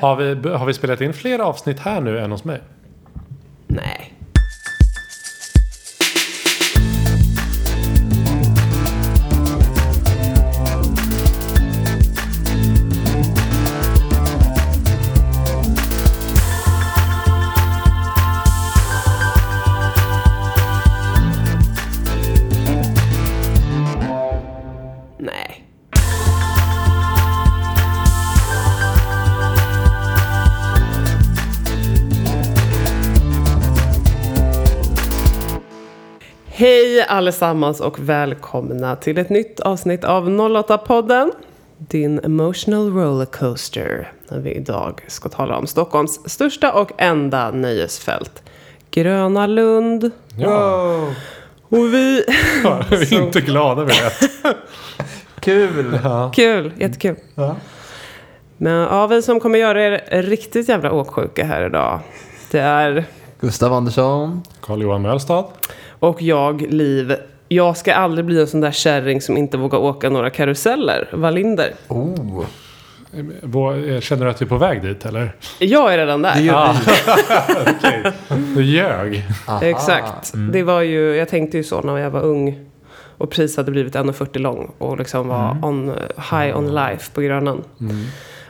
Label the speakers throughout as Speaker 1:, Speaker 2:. Speaker 1: Har vi, har vi spelat in fler avsnitt här nu än hos mig?
Speaker 2: Nej. Nej. Hej allesammans och välkomna till ett nytt avsnitt av 08-podden. Din emotional rollercoaster. När vi idag ska tala om Stockholms största och enda nöjesfält. Gröna Lund.
Speaker 1: Ja,
Speaker 2: Och vi...
Speaker 1: vi är inte glada över det.
Speaker 3: Kul!
Speaker 2: Kul, jättekul.
Speaker 3: Ja.
Speaker 2: Men ja, vi som kommer göra er riktigt jävla åksjuka här idag. Det är...
Speaker 3: Gustav Andersson.
Speaker 1: Carl-Johan Mölstad.
Speaker 2: Och jag, Liv. Jag ska aldrig bli en sån där kärring som inte vågar åka några karuseller. Wallinder.
Speaker 3: Oh.
Speaker 1: Vår- eh, Känner du att du är på väg dit eller?
Speaker 2: Jag är redan där.
Speaker 3: Det gör vi.
Speaker 1: Okej. Du ljög.
Speaker 3: Aha.
Speaker 2: Exakt.
Speaker 1: Mm.
Speaker 2: Det var ju, jag tänkte ju så när jag var ung och precis hade blivit 1,40 lång och liksom var
Speaker 1: Mm.
Speaker 2: on, high on life på Grönan.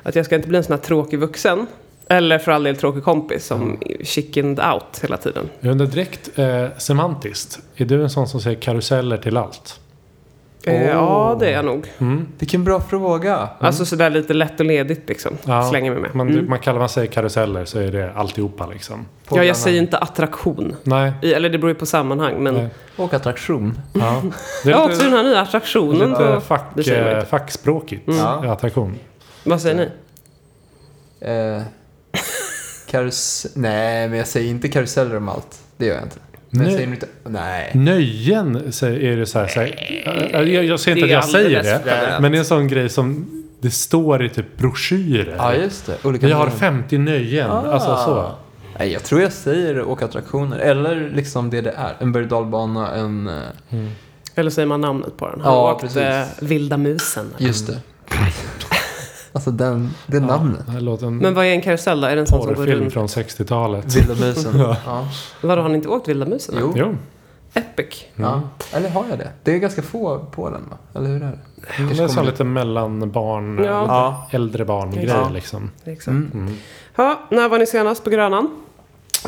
Speaker 2: Att jag ska inte bli en sån här tråkig vuxen. Eller för all del tråkig kompis som
Speaker 1: Mm.
Speaker 2: chickened out hela tiden.
Speaker 1: Jag undrar direkt eh, semantiskt. Är du en sån som säger karuseller till allt? Oh.
Speaker 2: Eh, Ja, det är jag nog.
Speaker 1: Mm.
Speaker 3: Vilken bra fråga.
Speaker 2: Alltså sådär lite lätt och ledigt liksom.
Speaker 1: Ja.
Speaker 2: Slänger mig med. Mm.
Speaker 1: Man, man kallar man säger karuseller så är det alltihopa liksom.
Speaker 2: Ja, jag säger inte attraktion.
Speaker 1: Nej.
Speaker 2: I- Eller det beror ju på sammanhang. Men
Speaker 1: Nej.
Speaker 3: Och attraktion.
Speaker 1: Ja. Det
Speaker 2: jag
Speaker 1: är
Speaker 2: har också den
Speaker 1: lite,
Speaker 2: här nya attraktionen.
Speaker 1: lite eh,
Speaker 2: På,
Speaker 1: fack,
Speaker 2: Det säger man inte. Mm.
Speaker 1: fackspråkigt.
Speaker 3: Ja.
Speaker 1: Attraktion.
Speaker 2: vad säger ni?
Speaker 3: Eh, karus... Nej, men jag säger inte karuseller om allt. Det gör jag inte. Men
Speaker 1: Nej.
Speaker 3: jag säger inte... Nej.
Speaker 1: Nöjen säger, är det så här. Så här jag, jag, jag säger inte att
Speaker 2: Det är
Speaker 1: jag säger
Speaker 2: alldeles
Speaker 1: det.
Speaker 2: fränt.
Speaker 1: Men det är en sån grej som det står i typ broschyrer.
Speaker 3: Ja, just det. Olika
Speaker 1: Vi har
Speaker 3: namn.
Speaker 1: 50 nöjen.
Speaker 2: Ah.
Speaker 1: Alltså så.
Speaker 3: Nej, jag tror jag säger åka attraktioner. Eller liksom det det är. En berg och dalbana, en... eh,
Speaker 2: Eller säger man namnet på den? Har
Speaker 3: Ja,
Speaker 2: du åkt
Speaker 3: precis.
Speaker 2: eh, Vilda musen?
Speaker 3: Just det. alltså den, det namnet.
Speaker 1: Det här låter
Speaker 3: Mm.
Speaker 1: en
Speaker 2: Men vad är en karusell då? Är det en sån som går
Speaker 1: porrfilm
Speaker 2: runt?
Speaker 1: från 60-talet.
Speaker 3: Vilda musen. ja.
Speaker 2: Vadå, har ni inte åkt Vilda musen?
Speaker 3: Jo.
Speaker 1: Jo.
Speaker 2: Epic.
Speaker 3: Ja. Eller har jag det? Det är ganska få på den va? Eller hur är det? det? kanske
Speaker 1: Det är så
Speaker 3: kommer-
Speaker 1: lite mellan barn,
Speaker 2: Ja.
Speaker 3: Ja.
Speaker 1: äldre barn grej
Speaker 2: Ja.
Speaker 1: liksom.
Speaker 2: Liksom.
Speaker 3: Mm.
Speaker 2: Ha, när var ni senast på Grönan?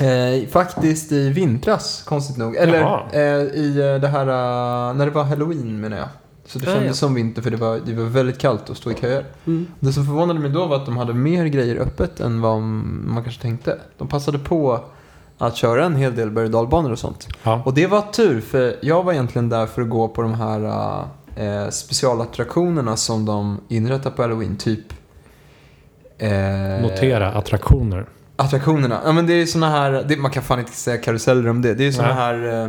Speaker 3: Eh, faktiskt i vintras, konstigt nog. Eller
Speaker 1: Jaha.
Speaker 3: eh, i eh, det här, eh, när det var halloween menar jag. Så det
Speaker 2: Ah,
Speaker 3: kändes
Speaker 2: ja.
Speaker 3: som vinter för det var, det var väldigt kallt att stå i köer. Det som förvånade mig då var att de hade mer grejer öppet än vad man kanske tänkte. De passade på att köra en hel del berg och dalbanor och sånt.
Speaker 1: Ja.
Speaker 3: Och det var tur för jag var egentligen där för att gå på de här eh, specialattraktionerna som de inrättar på halloween. Typ... eh,
Speaker 1: Notera attraktioner.
Speaker 3: Attraktionerna. Ja men det är såna här, det, man kan fan inte säga karuseller om det. Det är såna
Speaker 1: Nej.
Speaker 3: här eh,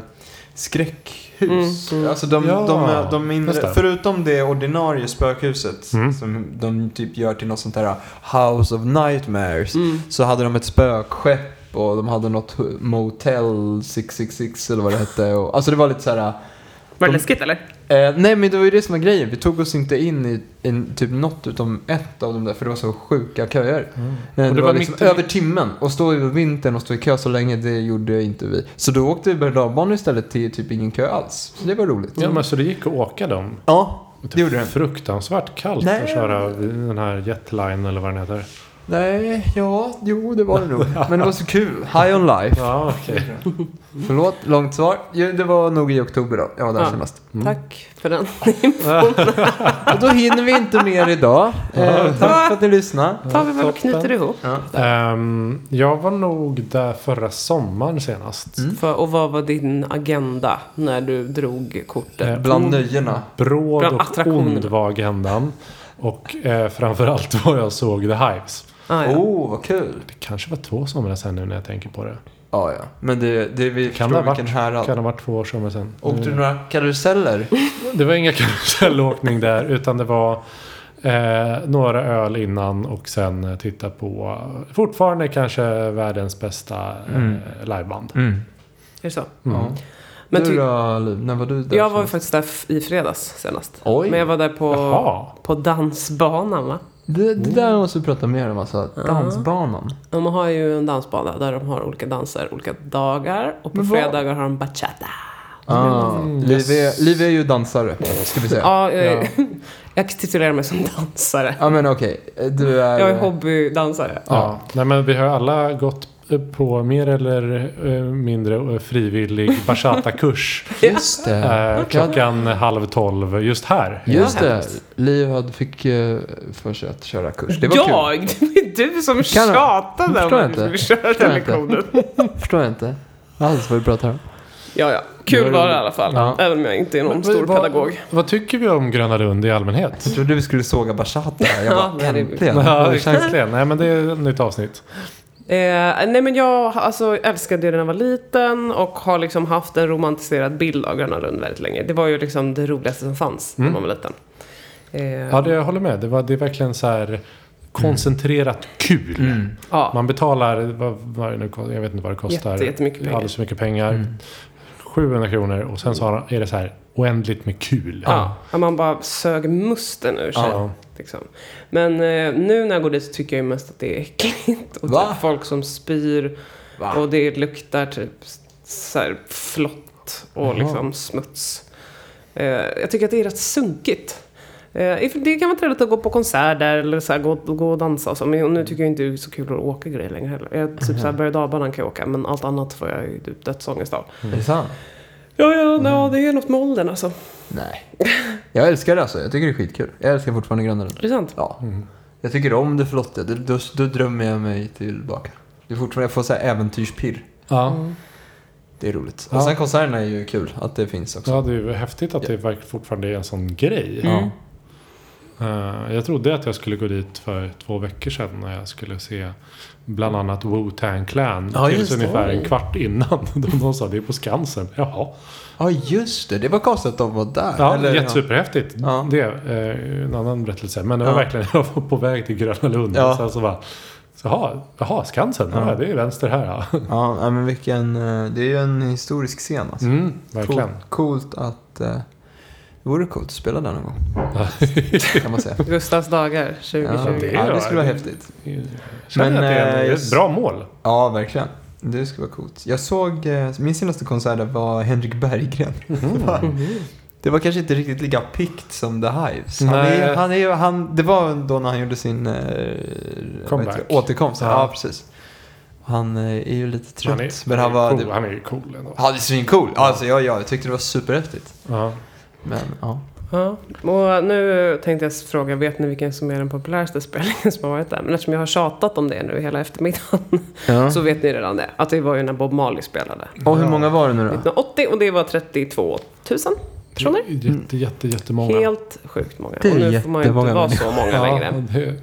Speaker 3: skräckhus. Alltså de,
Speaker 1: Ja,
Speaker 3: de, de, de
Speaker 1: just
Speaker 3: inre,
Speaker 1: det.
Speaker 3: förutom det ordinarie spökhuset
Speaker 1: Mm.
Speaker 3: som de typ gör till något sånt här House of Nightmares. Så hade de ett spökskepp och de hade något hu- Motel 666 eller vad det hette. Och, alltså det var lite så här.
Speaker 2: Var det
Speaker 3: De-
Speaker 2: läskigt eller?
Speaker 3: Eh, nej men det var ju det som var grejen. Vi tog oss inte in i, i typ något utom ett av dem där för det var så sjuka köer. Eh,
Speaker 1: Och
Speaker 3: det,
Speaker 1: det
Speaker 3: var,
Speaker 1: var
Speaker 3: liksom
Speaker 1: mitt i-
Speaker 3: över timmen. Och stå över vintern och stå i kö så länge, det gjorde inte vi. Så då åkte vi berg istället till typ ingen kö alls. Så det var roligt.
Speaker 1: Ja, men så det gick att åka dem.
Speaker 3: Ja, det gjorde det.
Speaker 1: Fruktansvärt kallt
Speaker 3: Nej.
Speaker 1: att köra den här jetline eller vad den heter.
Speaker 3: Nej, ja, jo det var det nog. Men det var så kul. High on life.
Speaker 1: Ja, okej.
Speaker 3: Förlåt, långt svar. Jo, det var nog i oktober då. Jag var där
Speaker 2: Ja.
Speaker 3: senast.
Speaker 2: Tack för den.
Speaker 3: Och då hinner vi inte mer idag. Eh, tack för att ni lyssnade.
Speaker 2: Tar vi väl och
Speaker 1: toppen.
Speaker 2: knyter ihop.
Speaker 1: Ehm, jag var nog där förra sommaren senast.
Speaker 3: Mm.
Speaker 2: För, och vad var din agenda när du drog kortet?
Speaker 1: Eh,
Speaker 3: Bland nöjena.
Speaker 1: Bråd
Speaker 2: Bland
Speaker 1: och
Speaker 2: attraktionerna.
Speaker 1: ond var agendan. Och eh, framförallt vad jag såg The Hives.
Speaker 2: Ah, ja.
Speaker 3: Åh, oh, vad kul.
Speaker 1: Det kanske var två somrar sen nu när jag tänker på det.
Speaker 3: Ja, ja. Men det, det
Speaker 1: Kan
Speaker 3: vi
Speaker 1: det
Speaker 3: förstår
Speaker 1: ha varit?
Speaker 3: vilken härad.
Speaker 1: Kan Mm. det ha varit två somrar sen.
Speaker 3: Åkte du några karuseller?
Speaker 1: Det var inga karusellåkning där utan det var eh, några öl innan och sen eh, titta på eh, fortfarande kanske världens bästa eh,
Speaker 2: Mm.
Speaker 1: liveband.
Speaker 2: Är det så?
Speaker 3: Ja.
Speaker 2: Mm. Men
Speaker 3: du
Speaker 2: ty-
Speaker 3: då, Liv? När var du där?
Speaker 2: jag var ju
Speaker 3: senast?
Speaker 2: faktiskt där f- i fredags senast.
Speaker 3: Oj.
Speaker 2: Men jag var där på,
Speaker 1: Jaha.
Speaker 2: på dansbanan va?
Speaker 3: Det, det där måste vi prata mer om alltså.
Speaker 2: Mm. Ja.
Speaker 3: Dansbanan.
Speaker 2: De har ju en dansbana där de har olika danser olika dagar. Och på
Speaker 3: Men vad-
Speaker 2: fredagar har de bachata.
Speaker 3: Ah,
Speaker 1: Mm,
Speaker 3: Liv,
Speaker 1: yes.
Speaker 3: är, Liv är ju dansare, ska vi säga. Ja,
Speaker 2: Ja, jag,
Speaker 1: Ja.
Speaker 2: jag titulerar mig som dansare.
Speaker 3: men okej. Du är...
Speaker 2: Mm. Jag är hobbydansare.
Speaker 1: Ja. Nej, men vi har alla gått på mer eller eh, mindre eh, frivillig bachata-kurs.
Speaker 3: Just det.
Speaker 1: eh, klockan halv tolv just här.
Speaker 3: Just
Speaker 2: Ja,
Speaker 3: det.
Speaker 2: hemskt.
Speaker 3: Liv hade fick eh, för sig att köra kurs. Det var kul.
Speaker 2: jag? Det är du som
Speaker 3: Kan jag?
Speaker 2: tjatade om
Speaker 3: Förstår jag
Speaker 2: att du skulle
Speaker 3: inte.
Speaker 2: köra
Speaker 3: Förstår
Speaker 2: den
Speaker 3: jag inte.
Speaker 2: lektionen.
Speaker 3: Förstår jag inte alls vad du pratar om.
Speaker 2: Ja, ja.
Speaker 3: Det
Speaker 2: Kul
Speaker 3: var
Speaker 2: var det
Speaker 3: roligt.
Speaker 2: i alla fall.
Speaker 3: Ja.
Speaker 2: Även om jag inte är någon stor
Speaker 1: vad,
Speaker 2: pedagog.
Speaker 1: Vad tycker vi om Gröna Lund i allmänhet?
Speaker 3: Jag trodde vi skulle såga bachata. Jag
Speaker 2: Ja,
Speaker 3: bara,
Speaker 2: nej, det är-
Speaker 3: äntligen.
Speaker 1: Ja,
Speaker 3: Det känns-
Speaker 1: verkligen. Nej, men det är ett nytt avsnitt.
Speaker 2: Eh, nej men jag alltså, älskade det när jag var liten och har liksom haft en romantiserad bild av Gröna Lund väldigt länge. Det var ju liksom det roligaste som fanns
Speaker 3: Mm.
Speaker 2: när man var liten. Eh,
Speaker 1: Ja, det, jag håller med. Det, var, det är verkligen så här koncentrerat kul.
Speaker 2: ja.
Speaker 1: Man betalar, vad, vad är det nu, ko- jag vet inte vad det kostar.
Speaker 2: Jätte- jättemycket pengar.
Speaker 1: Alldeles för mycket pengar. 700 kronor och sen så har- är det så här oändligt med kul.
Speaker 2: Ja, ja, man bara sög musten ur sig.
Speaker 1: Ja.
Speaker 2: Liksom. Men eh, nu när jag går dit så tycker jag ju mest att det är äckligt. Och
Speaker 3: Va?
Speaker 2: typ folk som spyr.
Speaker 3: Va?
Speaker 2: Och det luktar typ så här flott och
Speaker 1: Jaha.
Speaker 2: liksom smuts. Eh, jag tycker att det är rätt sunkigt. Eh, if- det kan vara trevligt att gå på konserter eller så här, gå, gå och dansa och så. Men
Speaker 1: Mm.
Speaker 2: nu tycker jag inte det är så kul att åka grejer längre heller. Jag, typ så här, berg och dalbanan kan jag åka men allt annat får jag ju typ dödsångest av.
Speaker 3: Är det sant?
Speaker 2: Ja, ja,
Speaker 1: Mm.
Speaker 2: ja, det är något med åldern alltså.
Speaker 3: Nej. Jag älskar det alltså. Jag tycker det är skitkul. Jag älskar fortfarande Gröna Lund.
Speaker 2: Är det sant?
Speaker 3: Ja.
Speaker 1: Mm.
Speaker 3: Jag tycker om det flottiga. Det- Då, då drömmer jag mig tillbaka. Det är fortfarande, jag får så här äventyrspirr.
Speaker 1: Ja.
Speaker 3: Det är roligt.
Speaker 1: Ja.
Speaker 3: Och sen konserterna är ju kul att det finns också.
Speaker 1: Ja, Mm. det är ju häftigt att det verkar fortfarande är en sån grej.
Speaker 3: Ja.
Speaker 1: Eh, Jag trodde att jag skulle gå dit för två veckor sedan när jag skulle se bland annat Wu-Tang Clan.
Speaker 3: Ja,
Speaker 1: tills
Speaker 3: just det.
Speaker 1: ungefär
Speaker 2: Oj.
Speaker 1: en kvart innan. De de sa det är på Skansen. Jaha.
Speaker 3: Ja, just det. Det var konstigt att de var där.
Speaker 1: Ja,
Speaker 3: Eller,
Speaker 1: jättesuperhäftigt.
Speaker 3: Ja.
Speaker 1: Det är en annan berättelse. Men det var
Speaker 3: Ja.
Speaker 1: verkligen, jag var på väg till Gröna Lund.
Speaker 3: Ja.
Speaker 1: Och sen så bara, jaha, jaha Skansen, ja.
Speaker 3: Ja.
Speaker 1: det är vänster här. Ja.
Speaker 3: Ja, ja, men vilken... eh, Det är ju en historisk scen alltså.
Speaker 1: Mm, verkligen.
Speaker 3: Coolt, coolt att... eh, Det vore coolt att spela där någon gång.
Speaker 1: Ja.
Speaker 3: Kan man säga.
Speaker 2: Gustavs dagar
Speaker 3: Ja,
Speaker 2: 2020.
Speaker 1: det är
Speaker 3: ja,
Speaker 1: ju-
Speaker 3: det skulle vara häftigt.
Speaker 1: Känner
Speaker 3: Men,
Speaker 1: att det är
Speaker 3: eh,
Speaker 1: en-
Speaker 3: just-
Speaker 1: ett bra mål.
Speaker 3: Ja, verkligen. Det skulle vara coolt. Jag såg... eh, Min senaste konsert där var Henrik Berggren.
Speaker 1: Mm-hmm.
Speaker 3: Det, var, det var kanske inte riktigt lika pikt som The Hives. Han
Speaker 1: Nej.
Speaker 3: är, han är, ju- han, det var då när han gjorde sin eh, vad
Speaker 1: Comeback.
Speaker 3: heter det? återkomst. Ja.
Speaker 1: Ja.
Speaker 3: precis. Han eh, är ju lite trött.
Speaker 1: Han är,
Speaker 3: men han var...
Speaker 1: cool.
Speaker 3: det-
Speaker 1: han är ju cool ändå.
Speaker 3: Han är svincool. Alltså, ja, ja, jag tyckte det var superhäftigt.
Speaker 1: Ja.
Speaker 3: Men, ja.
Speaker 2: Ja, och nu tänkte jag fråga, vet ni vilken som är den populäraste spelningen som har varit där? Men eftersom jag har tjatat om det nu hela eftermiddagen så vet ni redan det. Att det var ju när Bob Marley spelade.
Speaker 3: Och hur många var det nu då?
Speaker 2: 1980 och det var 32 000 personer.
Speaker 1: Mm. Jätte, jätte, jättemånga.
Speaker 2: Helt sjukt många.
Speaker 3: Det är
Speaker 2: Och nu får man ju inte
Speaker 3: jättemånga
Speaker 2: vara så många längre.
Speaker 1: Ja, det,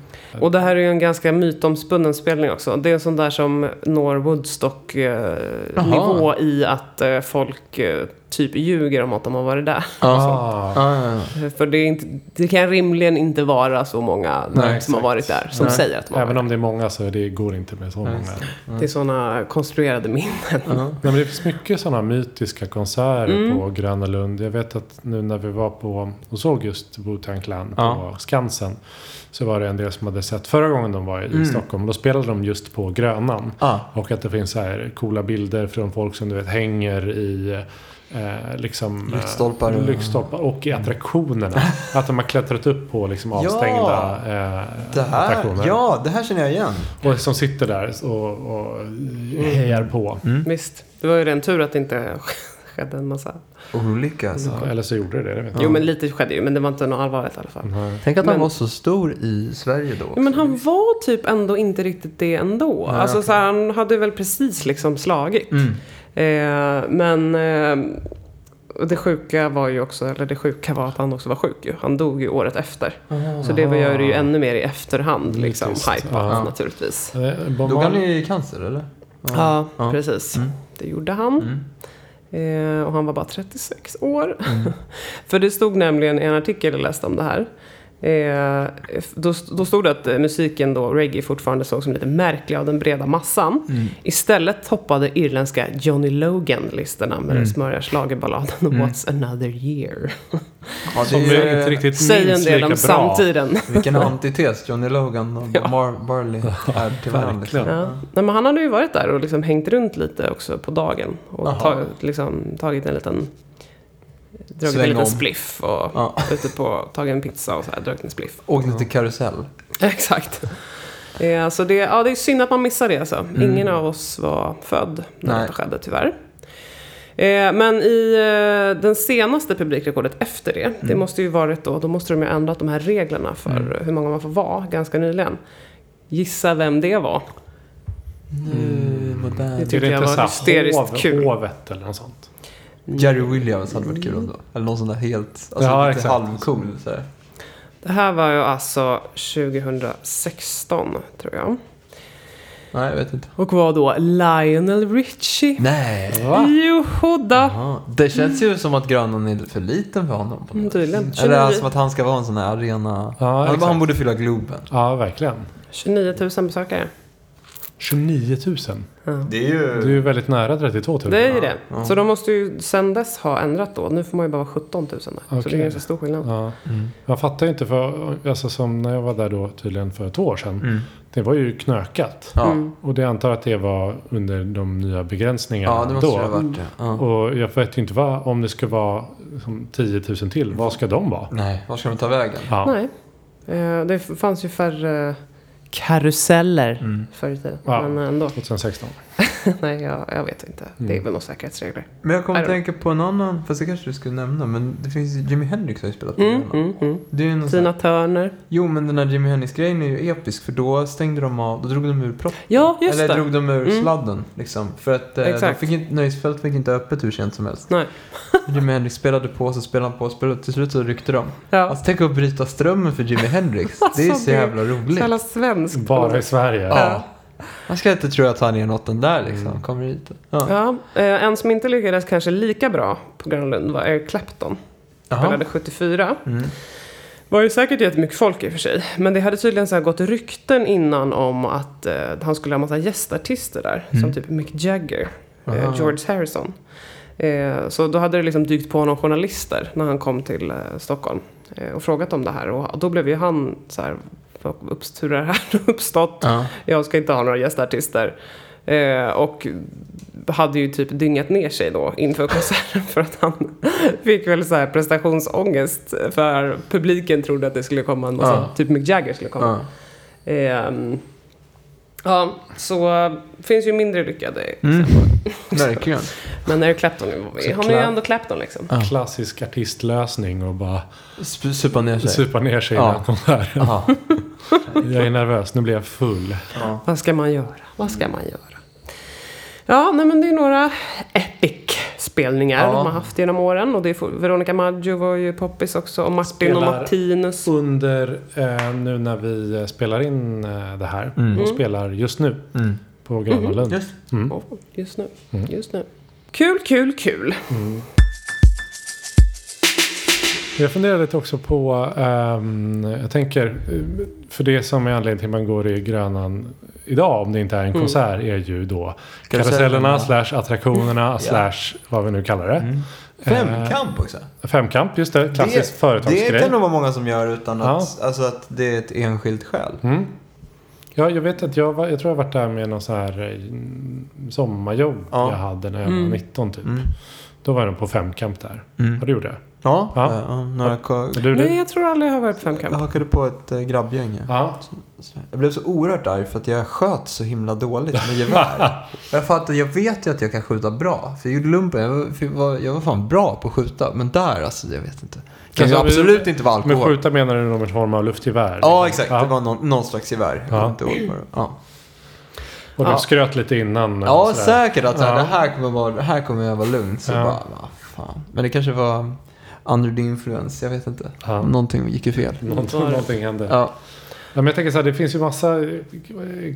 Speaker 2: Och det här är ju en ganska mytomspunnen spelning också. Det är en sån där som når
Speaker 3: Jaha.
Speaker 2: Woodstock-nivå i att eh, folk eh, typ ljuger om att de har varit där.
Speaker 1: ah,
Speaker 3: Ja, ja, ja.
Speaker 2: För det, är inte, det kan rimligen inte vara så många
Speaker 3: Nej,
Speaker 2: som
Speaker 3: exakt.
Speaker 2: har varit där som
Speaker 3: Nej.
Speaker 2: säger att de har
Speaker 1: även
Speaker 2: varit
Speaker 1: om det är många så det går inte med så
Speaker 3: Mm.
Speaker 1: många. Nej,
Speaker 2: där. Det är sådana konstruerade minnen.
Speaker 1: men det finns mycket sådana mytiska konserter på Gröna Lund. Jag vet att nu när vi var på och såg just Wu-Tang Clan på
Speaker 3: Ja.
Speaker 1: Skansen. Så var det en del som hade sett förra gången de var i
Speaker 3: Mm.
Speaker 1: Stockholm. Då spelade de just på Grönan.
Speaker 3: Ah.
Speaker 1: Och att det finns så här coola bilder från folk som du vet hänger i eh, liksom, eh,
Speaker 3: Lyktstolpar.
Speaker 1: lyktstolpar och
Speaker 2: Mm.
Speaker 1: i attraktionerna. att de har klättrat upp på liksom avstängda eh,
Speaker 3: Det här,
Speaker 1: attraktioner.
Speaker 3: ja, det här känner jag igen.
Speaker 1: Och som sitter där och, och hejar på.
Speaker 3: Mm.
Speaker 2: Visst, det var ju ren tur att det inte skedde en massa.
Speaker 3: Olycka alltså.
Speaker 1: Eller så gjorde det det. Vet jag.
Speaker 2: Mm. Jo men lite skedde ju, men det var inte något allvarligt i alla fall.
Speaker 1: Nej.
Speaker 3: Tänk att han
Speaker 2: Men-
Speaker 3: var så stor i Sverige då.
Speaker 2: Ja, men han var typ ändå inte riktigt det ändå. alltså, så här, han hade väl precis liksom slagit.
Speaker 1: Mm.
Speaker 2: Eh, men eh, och det sjuka var ju också, eller det sjuka var att han också var sjuk ju. Han dog ju året efter. Så det gör det ju ännu mer i efterhand
Speaker 1: Det är
Speaker 2: liksom
Speaker 1: trist.
Speaker 2: hajpat
Speaker 1: Ja.
Speaker 2: naturligtvis.
Speaker 1: Eh, Bob
Speaker 3: Dog han
Speaker 1: Marley-
Speaker 3: i cancer eller?
Speaker 2: Ja, precis. Det gjorde han. Eh, och han var bara 36 år. För det stod nämligen i en artikel jag läste om det här. Eh, då, då stod det att eh, musiken då, reggae, fortfarande såg som lite märklig av den breda massan. Istället toppade irländska Johnny Logan listorna med den smöriga schlagerballaden What's another year.
Speaker 3: Ja,
Speaker 1: Som
Speaker 3: det
Speaker 1: vi
Speaker 3: är
Speaker 1: inte
Speaker 3: ju
Speaker 1: riktigt
Speaker 2: eh, Säger en
Speaker 1: minns
Speaker 2: del
Speaker 1: lika
Speaker 2: om
Speaker 1: bra.
Speaker 2: samtiden.
Speaker 3: vilken antites Johnny Logan och
Speaker 2: Ja.
Speaker 3: Mar Barley är till varandra. Liksom.
Speaker 1: Verkligen.
Speaker 2: Ja. Nej, men han hade ju varit där och liksom hängt runt lite också på dagen. Och
Speaker 3: Jaha.
Speaker 2: tagit, liksom, tagit en liten... Dragit
Speaker 3: Sväng
Speaker 2: en liten
Speaker 3: om.
Speaker 2: spliff och
Speaker 3: Ja.
Speaker 2: ute på, tagit en pizza och så här, dragit en spliff.
Speaker 3: Och lite karusell.
Speaker 2: Exakt. Eh, så det, ja, det är synd att man missar det. Alltså. Ingen av oss var född när
Speaker 3: Mm. Nej.
Speaker 2: det skedde tyvärr. Eh, men i eh, den senaste publikrekordet efter det,
Speaker 3: Mm.
Speaker 2: det måste ju varit då, då måste de ju ha ändrat de här reglerna för hur många man får vara ganska nyligen. Gissa vem det var?
Speaker 3: Nu, modern.
Speaker 2: tyckte jag var
Speaker 1: så här
Speaker 2: hysteriskt
Speaker 1: hov-
Speaker 2: kul.
Speaker 1: Hovet eller något sånt.
Speaker 3: Jerry Williams hade varit kul ändå. Eller någon sån där helt, alltså
Speaker 1: Ja,
Speaker 3: lite
Speaker 1: exakt.
Speaker 3: halvcool. Så här.
Speaker 2: Det här var ju alltså 2016 tror jag.
Speaker 3: Nej, jag vet inte.
Speaker 2: Och var då Lionel Richie.
Speaker 3: Nej.
Speaker 1: Va?
Speaker 2: Johodda!
Speaker 3: Jaha. Det känns ju som att Grönan är för liten för honom. På
Speaker 2: Mm,
Speaker 3: något.
Speaker 2: Tydligen.
Speaker 3: Eller
Speaker 2: 29,
Speaker 3: alltså, som att han ska vara en sån här arena...
Speaker 1: Ja,
Speaker 3: han,
Speaker 1: exakt.
Speaker 3: han borde fylla Globen.
Speaker 1: Ja, verkligen.
Speaker 2: 29 000 besökare.
Speaker 1: 29 000.
Speaker 3: Det är ju...
Speaker 1: Det är ju väldigt nära 32 000.
Speaker 2: Det är ju det.
Speaker 3: Ja.
Speaker 2: Så de måste ju sen dess ha ändrat då. Nu får man ju bara vara 17 000 där. Så det
Speaker 1: Okej.
Speaker 2: är ganska stor skillnad.
Speaker 1: Ja.
Speaker 3: Mm.
Speaker 1: Jag fattar ju inte, för, alltså, som när jag var där då tydligen för två år sedan. Det var ju knökat.
Speaker 3: Mm. Ja.
Speaker 1: Och det antar jag att det var under de nya begränsningarna
Speaker 3: ja, det måste
Speaker 1: då.
Speaker 3: det ha varit. Ja.
Speaker 1: Och jag vet ju inte vad, om det ska vara liksom, 10 000 till, vad ska de vara?
Speaker 3: Nej, var ska de ta vägen?
Speaker 1: Ja.
Speaker 2: Nej. Eh, Det fanns ju färre karuseller förr i tiden.
Speaker 1: Ja.
Speaker 2: Men ändå.
Speaker 1: 2016.
Speaker 2: Nej, jag, jag vet inte. Det är väl några säkerhetsregler.
Speaker 3: Men jag kommer
Speaker 2: I
Speaker 3: att
Speaker 2: don't
Speaker 3: tänka på en annan, fast det kanske du skulle nämna, men det finns ju- Jimi Hendrix har ju spelat på
Speaker 2: Mm,
Speaker 3: Grönan.
Speaker 2: mm, mm.
Speaker 3: Det är ju någon sån
Speaker 2: Tina Turner.
Speaker 3: Jo, men den här Jimi Hendrix-grejen är ju episk för då stängde de av, då drog de ur proppen.
Speaker 2: Ja, just
Speaker 3: Eller
Speaker 2: det.
Speaker 3: drog de ur
Speaker 2: Mm.
Speaker 3: sladden liksom. För att eh, de
Speaker 2: Exakt.
Speaker 3: fick inte, nöjesfält fick inte öppet hur sent som helst.
Speaker 2: Nej.
Speaker 3: Jimi Hendrix spelade på, så spelade han på, spelade Till slut så ryckte de.
Speaker 2: Ja.
Speaker 3: Alltså tänk att bryta strömmen för Jimi Hendrix. det är
Speaker 2: Alltså,
Speaker 3: så
Speaker 2: det-
Speaker 3: jävla roligt.
Speaker 2: Så jävla svensk.
Speaker 1: Bara i Sverige.
Speaker 3: Ja. Man ska inte tro att han är något den där liksom. Kommer hit. Ja.
Speaker 2: Ja, eh, en som inte lyckades kanske lika bra på Grönlund var Eric Clapton.
Speaker 3: Jaha.
Speaker 2: Spelade 74.
Speaker 3: Mm.
Speaker 2: Var ju säkert jättemycket folk i och för sig. Men det hade tydligen så här gått rykten innan om att eh, han skulle ha massa gästartister där. Som typ Mick Jagger, eh,
Speaker 3: Aha.
Speaker 2: George Harrison. Eh, så då hade det liksom dykt på honom journalister när han kom till eh, Stockholm. Eh, och frågat om det här. Och då blev ju han så här, "Vad upps- hur har det här uppstått?
Speaker 3: Ja.
Speaker 2: Jag ska inte ha några gästartister. Eh, och hade ju typ dyngat ner sig då inför konserten för att han fick väl så här prestationsångest för publiken trodde att det skulle komma en massa,
Speaker 3: Ja.
Speaker 2: typ Mick Jagger skulle komma.
Speaker 3: Ja.
Speaker 2: Ja, ja så eh, finns ju mindre lyckade.
Speaker 3: Mm. Verkligen.
Speaker 2: Men Eric Clapton, är- han är ju
Speaker 3: Såklart.
Speaker 2: ändå Clapton liksom.
Speaker 1: Klassisk artistlösning och bara
Speaker 3: Sp- Supa ner sig.
Speaker 1: supa ner sig
Speaker 3: Ja.
Speaker 1: innan konserten.
Speaker 3: Aha.
Speaker 1: Jag är nervös, nu blir jag full.
Speaker 2: Vad ska man göra? Vad ska man göra? Ja, nej men det är några epic-spelningar
Speaker 3: Ja.
Speaker 2: de har haft genom åren. Och det är, for- Veronica Maggio var ju poppis också. Och Martin och
Speaker 1: Spelar-
Speaker 2: Martinus.
Speaker 1: Under eh, nu när vi eh, spelar in eh, det här och spelar just nu
Speaker 3: Mm.
Speaker 1: på Gröna Lund.
Speaker 3: Just.
Speaker 2: Oh, just nu.
Speaker 3: Mm.
Speaker 2: Just nu. Kul, kul, kul.
Speaker 1: Jag funderar lite också på, ehm, jag tänker, eh, för det som är anledningen till man går i Grönan idag om det inte är en
Speaker 3: Mm.
Speaker 1: konsert är ju då karusellerna,
Speaker 3: Karusellerna.
Speaker 1: slash attraktionerna, slash vad vi nu kallar
Speaker 3: Mm.
Speaker 1: det.
Speaker 3: Eh, Femkamp också.
Speaker 1: Femkamp, just det. Klassisk företagsgrej.
Speaker 3: Det kan nog vara många som gör utan
Speaker 1: Ja.
Speaker 3: att, alltså att det är ett enskilt skäl.
Speaker 1: Mm. Ja, jag vet att jag, var, jag tror jag varit där med någon så här eh, sommarjobb
Speaker 3: Ja.
Speaker 1: jag hade när jag var 19 typ.
Speaker 3: Mm.
Speaker 1: Då var den på femkamp där.
Speaker 3: Mm.
Speaker 1: Har du gjort det?
Speaker 3: Ja,
Speaker 1: Ja.
Speaker 3: ja. ja några ko-
Speaker 1: Är du det?
Speaker 2: Nej, jag tror aldrig jag har varit på
Speaker 3: jag
Speaker 2: femkamp.
Speaker 3: hakade på ett äh, grabbgäng. ja.
Speaker 1: Ja.
Speaker 3: Jag blev så oerhört arg för att jag sköt så himla dåligt med gevär. Och jag fattar, jag vet ju att jag kan skjuta bra. För jag gjorde lumpen, jag var, för jag var, jag var fan bra på att skjuta. Men där alltså, jag vet inte. Kan
Speaker 1: Alltså,
Speaker 3: ju
Speaker 1: vi-
Speaker 3: absolut inte vara
Speaker 1: Med
Speaker 3: alkohol.
Speaker 1: skjuta menar du någon form av luftgevär?
Speaker 3: Ja,
Speaker 1: liksom?
Speaker 3: exakt.
Speaker 1: Ja.
Speaker 3: Det var någon, någon slags gevär. Jag kommer
Speaker 1: Ja.
Speaker 3: inte ihåg vad det var. Ja.
Speaker 1: Och du
Speaker 3: Ja.
Speaker 1: skröt lite innan. eh,
Speaker 3: Ja,
Speaker 1: sådär.
Speaker 3: säkert att så här,
Speaker 1: Ja.
Speaker 3: det här kommer, vara, det här kommer jag vara lugn. Så
Speaker 1: Ja.
Speaker 3: bara, vad fan. Men det kanske var under the influence, jag vet inte.
Speaker 1: Ja.
Speaker 3: Någonting gick ju fel.
Speaker 1: Någonting, någonting hände. Ja.
Speaker 3: Ja.
Speaker 1: men jag tänker så här, det finns ju massa eh,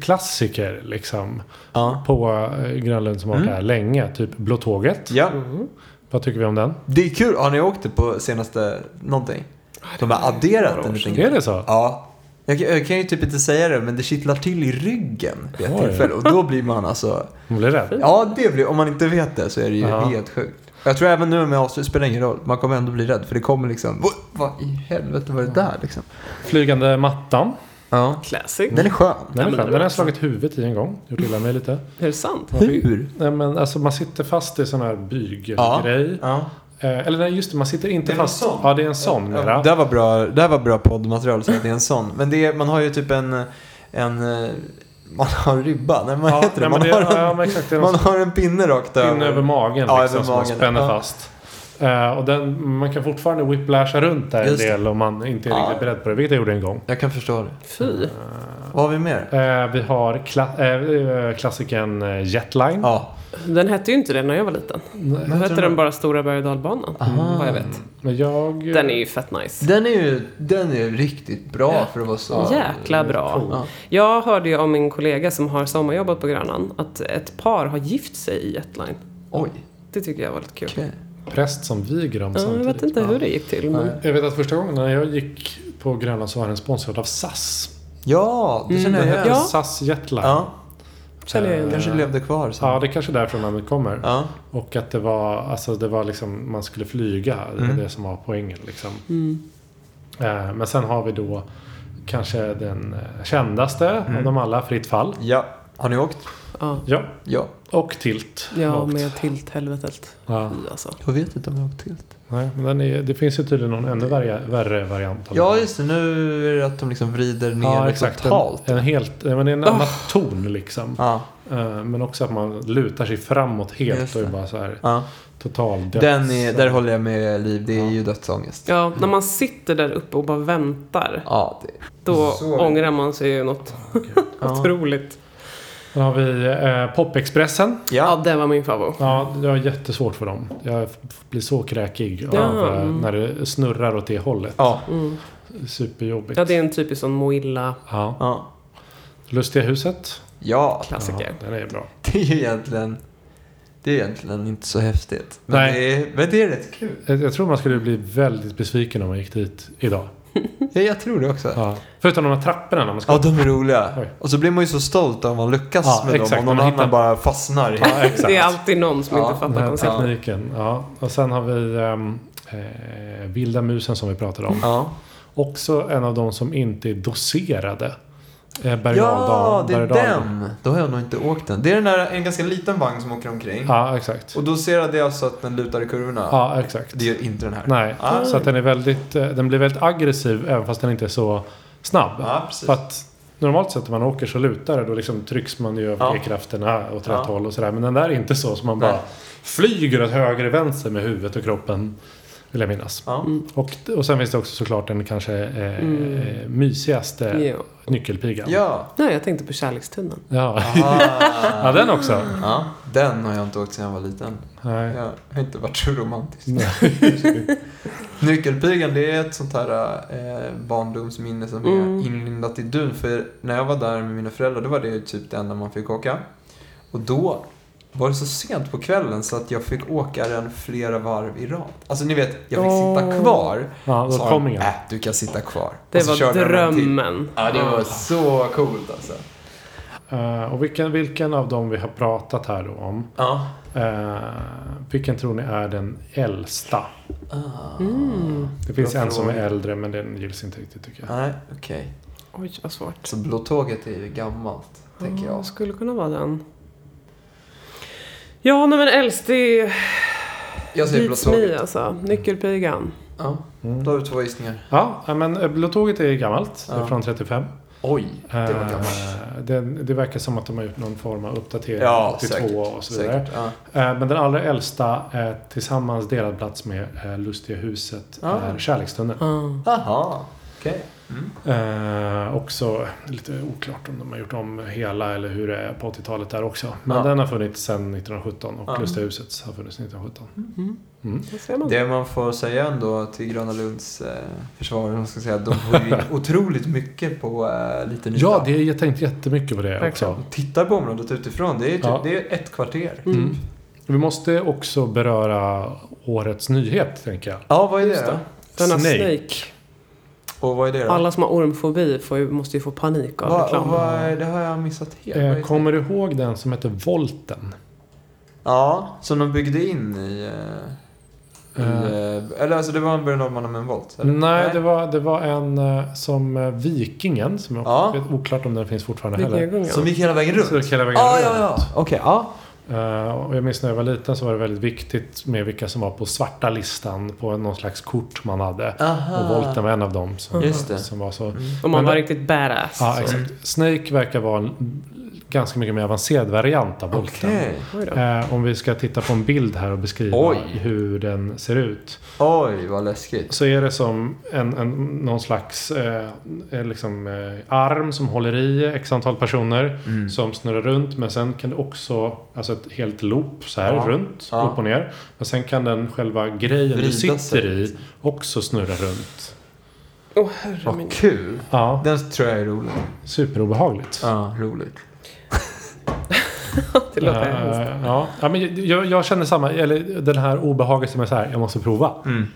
Speaker 1: klassiker liksom.
Speaker 3: ja.
Speaker 1: På eh, Grönlund som har varit där länge. Typ Blå tåget.
Speaker 3: Mm. Ja,
Speaker 1: Vad tycker vi om den?
Speaker 3: det är kul. Har ni åkt det på senaste någonting? De har adderat en liten
Speaker 1: Är det så?
Speaker 3: Ja. Jag, kan- jag kan ju typ inte säga det, men det kittlar till i ryggen vid ett
Speaker 1: Oj.
Speaker 3: tillfälle. Och då blir man alltså...
Speaker 1: Man blir rädd.
Speaker 3: Ja, det blir, om man inte vet det så är det ju
Speaker 1: Ja.
Speaker 3: helt sjukt. Jag tror även nu med avslut spelar ingen roll. Man kommer ändå bli rädd för det kommer liksom, "Vad- vad i helvete var det där liksom?
Speaker 1: Flygande mattan.
Speaker 3: Ja.
Speaker 2: Classic.
Speaker 3: Den är skön.
Speaker 1: Den, är
Speaker 2: men
Speaker 1: skön.
Speaker 2: det var
Speaker 1: den har jag
Speaker 2: också-
Speaker 1: slagit huvudet i en gång. Gjort illa mig lite.
Speaker 2: Är det sant?
Speaker 3: Hur?
Speaker 1: Nej, men alltså, man sitter fast i sån här bygelgrej.
Speaker 3: Ja.
Speaker 1: Eh, eller nej, just det, man sitter inte
Speaker 3: Det är en
Speaker 1: fast.
Speaker 3: sån.
Speaker 1: Ja, det är en sån mera.
Speaker 3: Det här var bra, det här var bra poddmaterial så att det är en sån. Men det är, man har ju typ en, en eh, man har en ribba. Nej, man
Speaker 1: Ja,
Speaker 3: heter det.
Speaker 1: nej,
Speaker 3: Man,
Speaker 1: men det,
Speaker 3: har,
Speaker 1: ja,
Speaker 3: en,
Speaker 1: men exakt. Det är
Speaker 3: man
Speaker 1: någon
Speaker 3: har en pinne rakt
Speaker 1: pinne över magen
Speaker 3: Ja,
Speaker 1: liksom,
Speaker 3: över
Speaker 1: som man
Speaker 3: magen.
Speaker 1: spänner
Speaker 3: Ja.
Speaker 1: fast. Eh, och den, man kan fortfarande whiplasha runt där en
Speaker 3: Just det.
Speaker 1: del om man inte är
Speaker 3: Ja.
Speaker 1: riktigt beredd på det, vilket jag gjorde en gång.
Speaker 3: Jag kan förstå det.
Speaker 2: Fy.
Speaker 3: Vad har vi mer?
Speaker 1: Eh, vi har kla- eh, klassikern eh, Jetline.
Speaker 3: Ja.
Speaker 2: Den hette ju inte det när jag var liten. Då
Speaker 3: jag
Speaker 2: hette
Speaker 3: tror
Speaker 2: den bara Stora berg och dalbanan.
Speaker 3: Aha.
Speaker 2: Vad jag vet.
Speaker 1: Men jag...
Speaker 2: Den är ju fett nice.
Speaker 3: Den är ju den är ju riktigt bra för att vara så.
Speaker 2: Jäkla bra.
Speaker 3: Ja.
Speaker 2: Jag hörde ju om min kollega som har sommarjobbat på Grönan att ett par har gift sig i Jetline.
Speaker 3: Oj.
Speaker 2: Det tycker jag var lite kul.
Speaker 3: okej.
Speaker 1: präst som viger dem
Speaker 2: Ja, jag
Speaker 1: samtidigt.
Speaker 2: vet inte hur det gick till. Men...
Speaker 3: Nej.
Speaker 1: Jag vet att första gången när jag gick på Grönland så var den sponsrad av SAS.
Speaker 3: Ja, det känner
Speaker 1: Den
Speaker 3: jag
Speaker 1: hette
Speaker 3: igen.
Speaker 2: Ja.
Speaker 1: SAS Jetline. Eh,
Speaker 3: Ja.
Speaker 2: Känner jag igen.
Speaker 3: Kanske levde kvar sen.
Speaker 1: Ja, det är kanske är därifrån namnet kommer.
Speaker 3: Ja.
Speaker 1: Och att det var, alltså det var liksom, man skulle flyga. Det var
Speaker 3: Mm.
Speaker 1: det som var poängen liksom.
Speaker 2: Mm.
Speaker 1: Eh, Men sen har vi då kanske den eh, kändaste av dem alla, Fritt fall.
Speaker 3: ja. Har ni åkt?
Speaker 2: Ja.
Speaker 1: Ja,
Speaker 3: Mm. Ja.
Speaker 1: och Tilt. har
Speaker 2: Ja,
Speaker 1: åkt.
Speaker 2: med tilthelvetet.
Speaker 1: Ja.
Speaker 2: Fy alltså.
Speaker 3: Jag vet inte om jag har åkt till.
Speaker 1: Nej, men den är, det finns ju tydligen någon ännu värre, värre variant. av
Speaker 3: Ja,
Speaker 1: den.
Speaker 3: just det. Nu är det att de liksom vrider ner
Speaker 1: ja,
Speaker 3: det
Speaker 1: exakt.
Speaker 3: totalt. Oh.
Speaker 1: En, en helt, eh, men det är en annan ton liksom.
Speaker 3: Ja,
Speaker 1: Eh, Men också att man lutar sig framåt helt
Speaker 3: Just
Speaker 1: och är
Speaker 3: det.
Speaker 1: bara så här
Speaker 3: ja.
Speaker 1: total döds.
Speaker 3: Den är, där håller jag med Liv. Det är ju dödsångest.
Speaker 2: Ja, när man sitter där uppe och bara väntar.
Speaker 3: Ja, det,
Speaker 2: Då
Speaker 3: Så är det.
Speaker 2: ångrar man sig ju något
Speaker 3: ja.
Speaker 2: otroligt.
Speaker 1: Sen har vi eh, Popexpressen.
Speaker 2: Ja,
Speaker 3: ja.
Speaker 2: det var min favorit.
Speaker 1: Ja, jag har jättesvårt för dem. Jag f- blir så kräkig
Speaker 2: Ja.
Speaker 1: av, eh, när det snurrar åt det hållet.
Speaker 3: Ja.
Speaker 1: Superjobbigt.
Speaker 2: Mm. Ja, det är en typisk sån Moilla
Speaker 1: Ja.
Speaker 3: Ja.
Speaker 1: Lustiga huset.
Speaker 3: ja,
Speaker 2: klassiker.
Speaker 1: Ja, den är bra.
Speaker 3: det är ju egentligen... Det är egentligen inte så häftigt. Men,
Speaker 1: Nej.
Speaker 3: Det, är, men det är rätt kul.
Speaker 1: Jag, jag tror man skulle bli väldigt besviken om man gick dit idag.
Speaker 3: Ja, jag tror det också. Ja,
Speaker 1: Ja. Förutom de här trapporna när man ska...
Speaker 3: de är roliga.
Speaker 1: Oj.
Speaker 3: Och så blir man ju så stolt om man lyckas
Speaker 1: Ja,
Speaker 3: med
Speaker 1: exakt.
Speaker 3: dem och
Speaker 1: Man
Speaker 3: någon
Speaker 1: hittar-
Speaker 3: annan bara fastnar i.
Speaker 1: Ja, exakt.
Speaker 2: Det är alltid någon som
Speaker 3: Ja,
Speaker 2: inte
Speaker 1: Den
Speaker 2: fattar
Speaker 1: här
Speaker 2: konceptet.
Speaker 1: tekniken. Ja. Och sen har vi ehm, eh, vilda musen som vi pratade om.
Speaker 3: Ja.
Speaker 1: Också en av de som inte är doserade. Eh, berg och
Speaker 3: ja,
Speaker 1: dal-
Speaker 3: det är
Speaker 1: berg och dal-
Speaker 3: den. Då har jag nog inte åkt den. Det är den där, en ganska liten vagn som åker omkring.
Speaker 1: Ja, exakt.
Speaker 3: Och då ser jag det alltså att den lutar i kurvorna.
Speaker 1: Ja, exakt.
Speaker 3: Det gör inte den här.
Speaker 1: Nej,
Speaker 3: Ah.
Speaker 1: så att den, är väldigt, eh, den blir väldigt aggressiv även fast den inte är så snabb.
Speaker 3: Ja, precis.
Speaker 1: För att normalt sett när man åker så lutar det. Då liksom trycks man ju över
Speaker 3: Ja.
Speaker 1: G-krafterna åt rätt
Speaker 3: Ja.
Speaker 1: håll och sådär. Men den där är inte så. Så man
Speaker 3: Nej.
Speaker 1: bara flyger åt höger och vänster med huvudet och kroppen. Vill jag minnas.
Speaker 3: Ja.
Speaker 2: Mm.
Speaker 1: Och, och sen finns det också såklart den kanske eh, mysigaste
Speaker 2: Ja.
Speaker 1: nyckelpigan.
Speaker 3: Ja.
Speaker 2: Nej, jag tänkte på kärlekstunneln.
Speaker 1: Ja.
Speaker 3: Ah.
Speaker 1: ja, den också.
Speaker 3: ja. Den har jag inte åkt sedan jag var liten.
Speaker 1: Nej.
Speaker 3: Jag har inte varit så romantisk.
Speaker 1: Nej.
Speaker 3: Nyckelpigan, det är ett sånt här eh, barndomsminne som
Speaker 2: Mm.
Speaker 3: är inlindat i dun. För när jag var där med mina föräldrar, då var det ju typ det enda man fick åka. Och då var det så sent på kvällen så att jag fick åka den flera varv i rad. Alltså ni vet, jag fick sitta
Speaker 2: Åh.
Speaker 3: kvar.
Speaker 1: Ja, då
Speaker 3: Sa
Speaker 1: kom
Speaker 3: de,
Speaker 1: ingen.
Speaker 3: "Äh, du kan sitta kvar.
Speaker 2: Det
Speaker 3: Och så
Speaker 2: var
Speaker 3: Alltså,
Speaker 2: Ah.
Speaker 3: körde de en till.
Speaker 2: drömmen.
Speaker 3: Ja, det var så coolt alltså.
Speaker 1: Eh, och vilken, vilken av dem vi har pratat här då om.
Speaker 3: Ja.
Speaker 1: eh, vilken tror ni är den äldsta?
Speaker 3: Ah.
Speaker 2: Mm.
Speaker 1: Det finns
Speaker 3: Bra
Speaker 1: en som är
Speaker 3: fråga.
Speaker 1: äldre men den gills inte riktigt tycker jag.
Speaker 3: Nej, okej.
Speaker 2: Oj, vad svårt.
Speaker 3: Så Blå tåget är ju gammalt, tänker
Speaker 2: Ja,
Speaker 3: jag.
Speaker 2: skulle kunna vara den. Ja, nej men äldst, det är
Speaker 3: Jag säger Blå
Speaker 2: beats me
Speaker 3: tåget.
Speaker 2: alltså. Nyckelpigan.
Speaker 3: Ja,
Speaker 1: Mm.
Speaker 3: då har du två gissningar.
Speaker 1: Ja, eh, men eh, Blå tåget är gammalt. Det är
Speaker 3: Ja.
Speaker 1: från 35.
Speaker 3: Oj, det var
Speaker 1: Eh,
Speaker 3: gammalt.
Speaker 1: det, det verkar som att de har gjort någon form av uppdatering.
Speaker 3: Ja,
Speaker 1: 82
Speaker 3: säkert.
Speaker 1: och så vidare.
Speaker 3: Säkert. Ja.
Speaker 1: Eh, Men den allra äldsta eh, tillsammans delad plats med eh, Lustiga huset
Speaker 3: Ah.
Speaker 1: är Kärlekstunneln.
Speaker 2: Ja.
Speaker 3: Aha, okej. Mm.
Speaker 1: Eh, också lite oklart om de har gjort om hela eller hur det är på 80-talet där också. Men
Speaker 3: Ja.
Speaker 1: den har funnits sedan 1917 och
Speaker 3: Ja.
Speaker 1: Lustiga huset har funnits Mm. 1917.
Speaker 2: Där ser man.
Speaker 3: Mm. Det man får säga ändå till Gröna Lunds eh, försvar, om man ska säga, de får ju in otroligt mycket på eh, liten yta.
Speaker 1: Ja, det, är- jag tänkte jättemycket på det
Speaker 2: Verkligen.
Speaker 1: också.
Speaker 3: Tittar på området utifrån, det är, typ,
Speaker 1: Ja.
Speaker 3: det är ett kvarter.
Speaker 1: Mm. Vi måste också beröra årets nyhet tänker jag.
Speaker 3: Ja, vad är
Speaker 2: Just
Speaker 3: det då?
Speaker 2: Denna
Speaker 1: Snake.
Speaker 2: Snake.
Speaker 3: Och vad är det då?
Speaker 2: Alla som har ormfobi får ju, måste ju få panik av
Speaker 3: Va,
Speaker 2: reklam.
Speaker 3: och vad är, det har jag missat helt. Vad är
Speaker 1: Eh,
Speaker 3: det?
Speaker 1: kommer du ihåg den som heter Volten?
Speaker 3: Ja, som de byggde in i... eh, i eh, eller alltså det var en Björn Norrman med en volt? Eller?
Speaker 1: Nej, det, var, det var en eh, som eh, Vikingen. Som jag
Speaker 3: Ja.
Speaker 1: vet oklart om den finns fortfarande heller.
Speaker 2: Vikingagungan.
Speaker 3: Som gick hela vägen runt?
Speaker 1: Så hela vägen
Speaker 3: Ja,
Speaker 1: runt.
Speaker 3: ja, ja. Okej, ja.
Speaker 1: Eh, och jag minns när jag var liten så var det väldigt viktigt med vilka som var på svarta listan på någon slags kort man hade.
Speaker 3: Aha.
Speaker 1: Och Volten var en av dem som,
Speaker 3: Ah. Just det.
Speaker 1: som var så.
Speaker 2: Om man
Speaker 1: Men-
Speaker 2: var riktigt badass.
Speaker 1: Ja,
Speaker 2: så-
Speaker 1: exakt. Snake verkar vara en ganska mycket mer avancerad variant av Volten.
Speaker 3: Okej.
Speaker 2: Oj då.
Speaker 1: Eh, om vi ska titta på en bild här och beskriva
Speaker 3: Oj.
Speaker 1: hur den ser ut.
Speaker 3: Oj, vad läskigt.
Speaker 1: Så är det som en, en, någon slags eh, eh, liksom, eh, arm som håller i x antal personer.
Speaker 3: Mm.
Speaker 1: Som snurrar runt. Men sen kan det också, alltså ett helt loop så här
Speaker 3: Ja.
Speaker 1: runt,
Speaker 3: Ja.
Speaker 1: upp och ner. Men sen kan den själva grejen
Speaker 3: Vrida
Speaker 1: du sitter
Speaker 3: sig. liksom.
Speaker 1: i också snurra runt.
Speaker 2: Åh, herre min.
Speaker 3: Vad kul.
Speaker 1: Ja,
Speaker 3: Den tror jag är rolig.
Speaker 1: superobehagligt.
Speaker 3: Ja, roligt.
Speaker 2: Det låter
Speaker 1: Eh,
Speaker 2: hemskt.
Speaker 1: ja. ja, men jag, jag känner samma, eller den här obehaget som är så här, jag måste prova.
Speaker 3: Mm.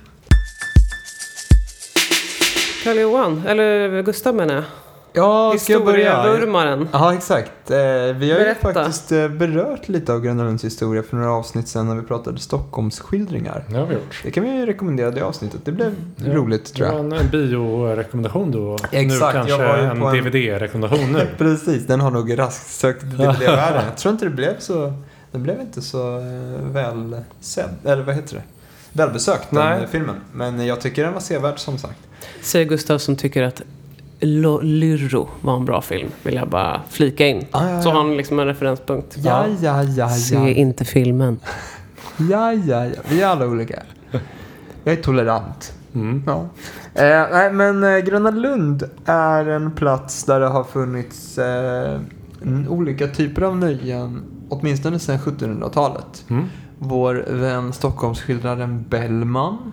Speaker 2: Karl-Johan, eller Gustav menar jag.
Speaker 3: Ja, ska jag börja?
Speaker 2: Historievurmaren.
Speaker 3: Ja, exakt. Eh, vi har
Speaker 2: Berätta.
Speaker 3: ju faktiskt eh, berört lite av Gröna Lunds historia för några avsnitt sedan när vi pratade Stockholmsskildringar.
Speaker 1: Det har vi gjort.
Speaker 3: Det kan vi ju rekommendera det avsnittet. Det blev
Speaker 1: Ja.
Speaker 3: roligt tror
Speaker 1: Det var
Speaker 3: jag.
Speaker 1: en, en biorekommendation då.
Speaker 3: Exakt,
Speaker 1: nu
Speaker 3: jag
Speaker 1: kanske
Speaker 3: var ju
Speaker 1: en,
Speaker 3: på en-
Speaker 1: DVD-rekommendation nu.
Speaker 3: Precis, den har nog raskt sökt DVD-världen. Jag tror inte det blev så... Den blev inte så eh, väl sedd, eller vad heter det? Välbesökt, den
Speaker 1: Nej.
Speaker 3: eh, filmen. Men jag tycker den var sevärd som sagt.
Speaker 2: Säger Gustav som tycker att Lo- Lyrro var en bra film, vill jag bara flika in.
Speaker 3: Ah, ja,
Speaker 2: Så
Speaker 3: ja.
Speaker 2: har han liksom en referenspunkt.
Speaker 3: Ja, ja, ja,
Speaker 2: Se
Speaker 3: ja.
Speaker 2: inte filmen.
Speaker 3: Ja, ja, ja. Vi är alla olika. Jag är tolerant.
Speaker 1: Mm.
Speaker 3: Ja. Eh, nej, men eh, Gröna Lund är en plats där det har funnits eh, n- olika typer av nöjen, åtminstone sedan 1700-talet.
Speaker 1: Mm.
Speaker 3: Vår vän Stockholmsskildraren Bellman,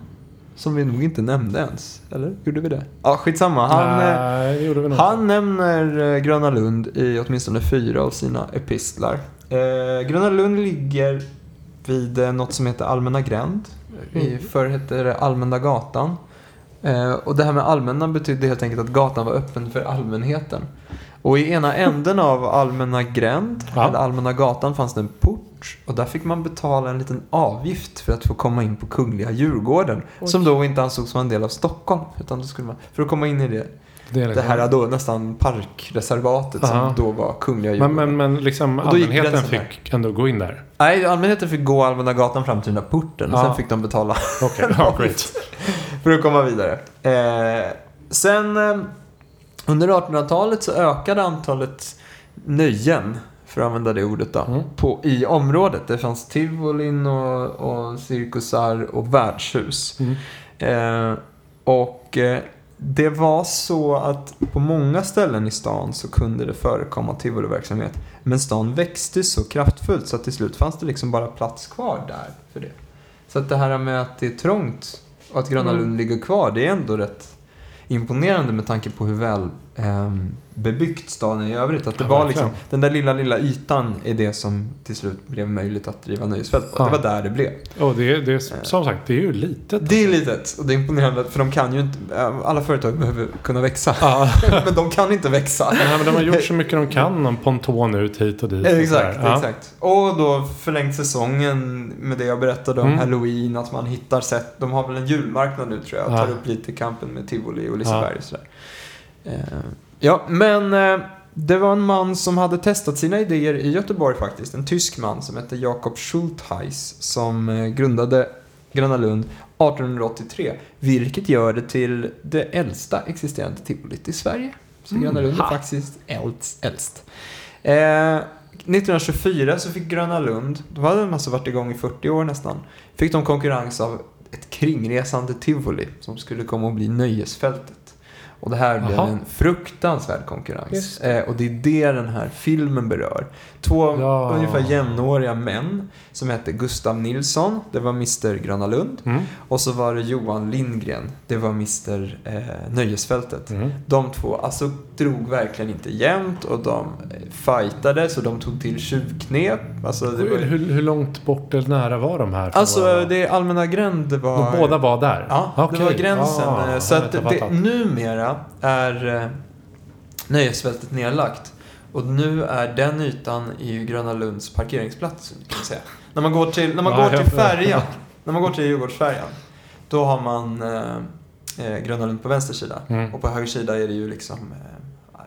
Speaker 3: som vi nog inte nämnde ens, eller? Gjorde vi det? Ja, skitsamma. Han, eh,
Speaker 1: Nej, det gjorde vi nog
Speaker 3: han nämner eh, Gröna Lund i åtminstone fyra av sina epistlar. Eh, Gröna Lund ligger vid eh, något som heter Allmänna gränd.
Speaker 1: Mm.
Speaker 3: I, förr hette det Allmänna gatan. Eh, och det här med allmänna betydde helt enkelt att gatan var öppen för allmänheten. Och i ena änden av Allmänna gränd,
Speaker 1: Ja.
Speaker 3: eller Allmänna gatan, fanns det en port. Och där fick man betala en liten avgift för att få komma in på Kungliga Djurgården. Som då inte ansågs vara en del av Stockholm. Utan då skulle man, för att komma in i det
Speaker 1: Det är
Speaker 3: det
Speaker 1: liksom-
Speaker 3: här är då nästan parkreservatet
Speaker 1: Aha.
Speaker 3: som då var Kungliga
Speaker 1: men,
Speaker 3: Djurgården.
Speaker 1: men, men liksom
Speaker 3: Och då gick
Speaker 1: allmänheten
Speaker 3: gränsen där.
Speaker 1: fick ändå gå in där.
Speaker 3: Nej, allmänheten fick gå Allmänna gatan fram till den där porten och
Speaker 1: Ja.
Speaker 3: sen fick de betala
Speaker 1: Okej, ja, great.
Speaker 3: för att komma vidare. Eh, sen eh, under 1800-talet så ökade antalet nöjen, för att använda det ordet då,
Speaker 1: Mm.
Speaker 3: på, i området. Det fanns tivolin och, och cirkusar och värdshus.
Speaker 1: Mm.
Speaker 3: Eh, och eh, det var så att på många ställen i stan så kunde det förekomma tivoliverksamhet. Men stan växte så kraftfullt så att till slut fanns det liksom bara plats kvar där för det. Så att det här med att det är trångt och att Gröna
Speaker 2: Mm.
Speaker 3: Lund ligger kvar, det är ändå rätt imponerande med tanke på hur väl ehm, bebyggt staden är i övrigt. Att det
Speaker 1: Ja,
Speaker 3: var
Speaker 1: verkligen.
Speaker 3: liksom, den där lilla, lilla ytan är det som till slut blev möjligt att driva nöjesfält på.
Speaker 1: Ja.
Speaker 3: Det var där det blev.
Speaker 1: Och det, det är som sagt, det är ju litet. alltså.
Speaker 3: Det är litet och det är imponerande för de kan ju inte, eh, alla företag behöver kunna växa.
Speaker 1: Ja.
Speaker 3: men de kan inte växa.
Speaker 1: Nej, men de har gjort så mycket de kan. Någon ponton ut hit och dit. och
Speaker 3: Exakt,
Speaker 1: sådär. Ja.
Speaker 3: exakt. Och då förlängt säsongen med det jag berättade om
Speaker 1: Mm.
Speaker 3: halloween, att man hittar sätt. De har väl en julmarknad nu tror jag, och
Speaker 1: Ja.
Speaker 3: tar upp lite kampen med Tivoli och Liseberg och sådär. Eh, Ja, men eh, det var en man som hade testat sina idéer i Göteborg faktiskt. En tysk man som hette Jakob Schultheis som eh, grundade Gröna Lund 1883. Vilket gör det till det äldsta existerande tivolit i Sverige. Så Gröna Lund är
Speaker 2: Ha.
Speaker 3: faktiskt äldst. äldst. Eh, 1924 så fick Gröna Lund, då hade de alltså varit igång i 40 år nästan, fick de konkurrens av ett kringresande tivoli som skulle komma att bli Nöjesfältet. Och det här blev
Speaker 1: Jaha.
Speaker 3: en fruktansvärd konkurrens.
Speaker 2: Just
Speaker 3: Eh, och det är det den här filmen berör. Två
Speaker 1: Ja.
Speaker 3: ungefär jämnåriga män som hette Gustav Nilsson, det var Mr Gröna Lund.
Speaker 1: Mm.
Speaker 3: Och så var det Johan Lindgren, det var Mr eh, Nöjesfältet.
Speaker 1: Mm.
Speaker 3: De två alltså, drog verkligen inte jämnt och de eh, fightades och de tog till tjuvknep. Alltså, det
Speaker 1: Hur,
Speaker 3: var,
Speaker 1: hur, hur långt bort eller nära var de här? från
Speaker 3: alltså
Speaker 1: varandra?
Speaker 3: det allmänna gränd var...
Speaker 1: de båda var där?
Speaker 3: Ja,
Speaker 1: Okej.
Speaker 3: det var gränsen.
Speaker 1: Ah,
Speaker 3: Eh, så
Speaker 1: jag
Speaker 3: att
Speaker 1: vet, jag
Speaker 3: det,
Speaker 1: fattar.
Speaker 3: numera är eh, nöjesfältet nedlagt. Och nu är den ytan i Gröna Lunds parkeringsplats, kan man säga. När man går till, när man
Speaker 1: Ja,
Speaker 3: går
Speaker 1: jag
Speaker 3: till
Speaker 1: förstår.
Speaker 3: färjan, när man går till Djurgårdsfärjan, då har man eh, eh, Gröna Lund på vänster sida.
Speaker 1: Mm.
Speaker 3: Och på höger sida är det ju liksom eh,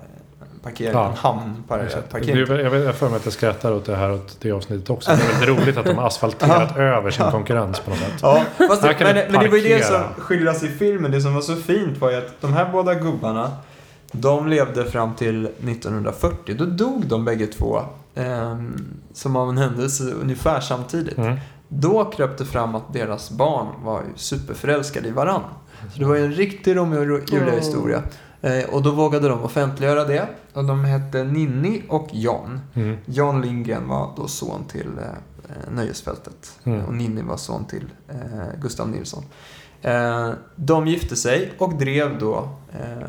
Speaker 3: parkering,
Speaker 1: Ja.
Speaker 3: en hamn, par-
Speaker 1: Exakt. Det
Speaker 3: parkering.
Speaker 1: blir väl- Jag vet- jag har för mig att jag skrattar åt det här åt det avsnittet också. Det är väldigt roligt att de har asfalterat över sin konkurrens på något sätt.
Speaker 3: Ja, fast
Speaker 1: Här
Speaker 3: det,
Speaker 1: kan
Speaker 3: men,
Speaker 1: du
Speaker 3: det- men det var ju det som
Speaker 1: parkera.
Speaker 3: skildras i filmen. Det som var så fint var ju att de här båda gubbarna, de levde fram till 1940. Då dog de bägge två, ehm, som av en händelse, ungefär samtidigt.
Speaker 1: Mm.
Speaker 3: Då kröp det fram att deras barn var ju superförälskade i varann. Så det var ju en riktig Romeo och Julia-historia. Eh, och då vågade de offentliggöra det. Och de hette Ninni och Jan.
Speaker 1: Mm.
Speaker 3: Jan Lindgren var då son till eh, Nöjesfältet
Speaker 1: Mm.
Speaker 3: och Ninni var son till eh, Gustav Nilsson. Eh, de gifte sig och drev då eh,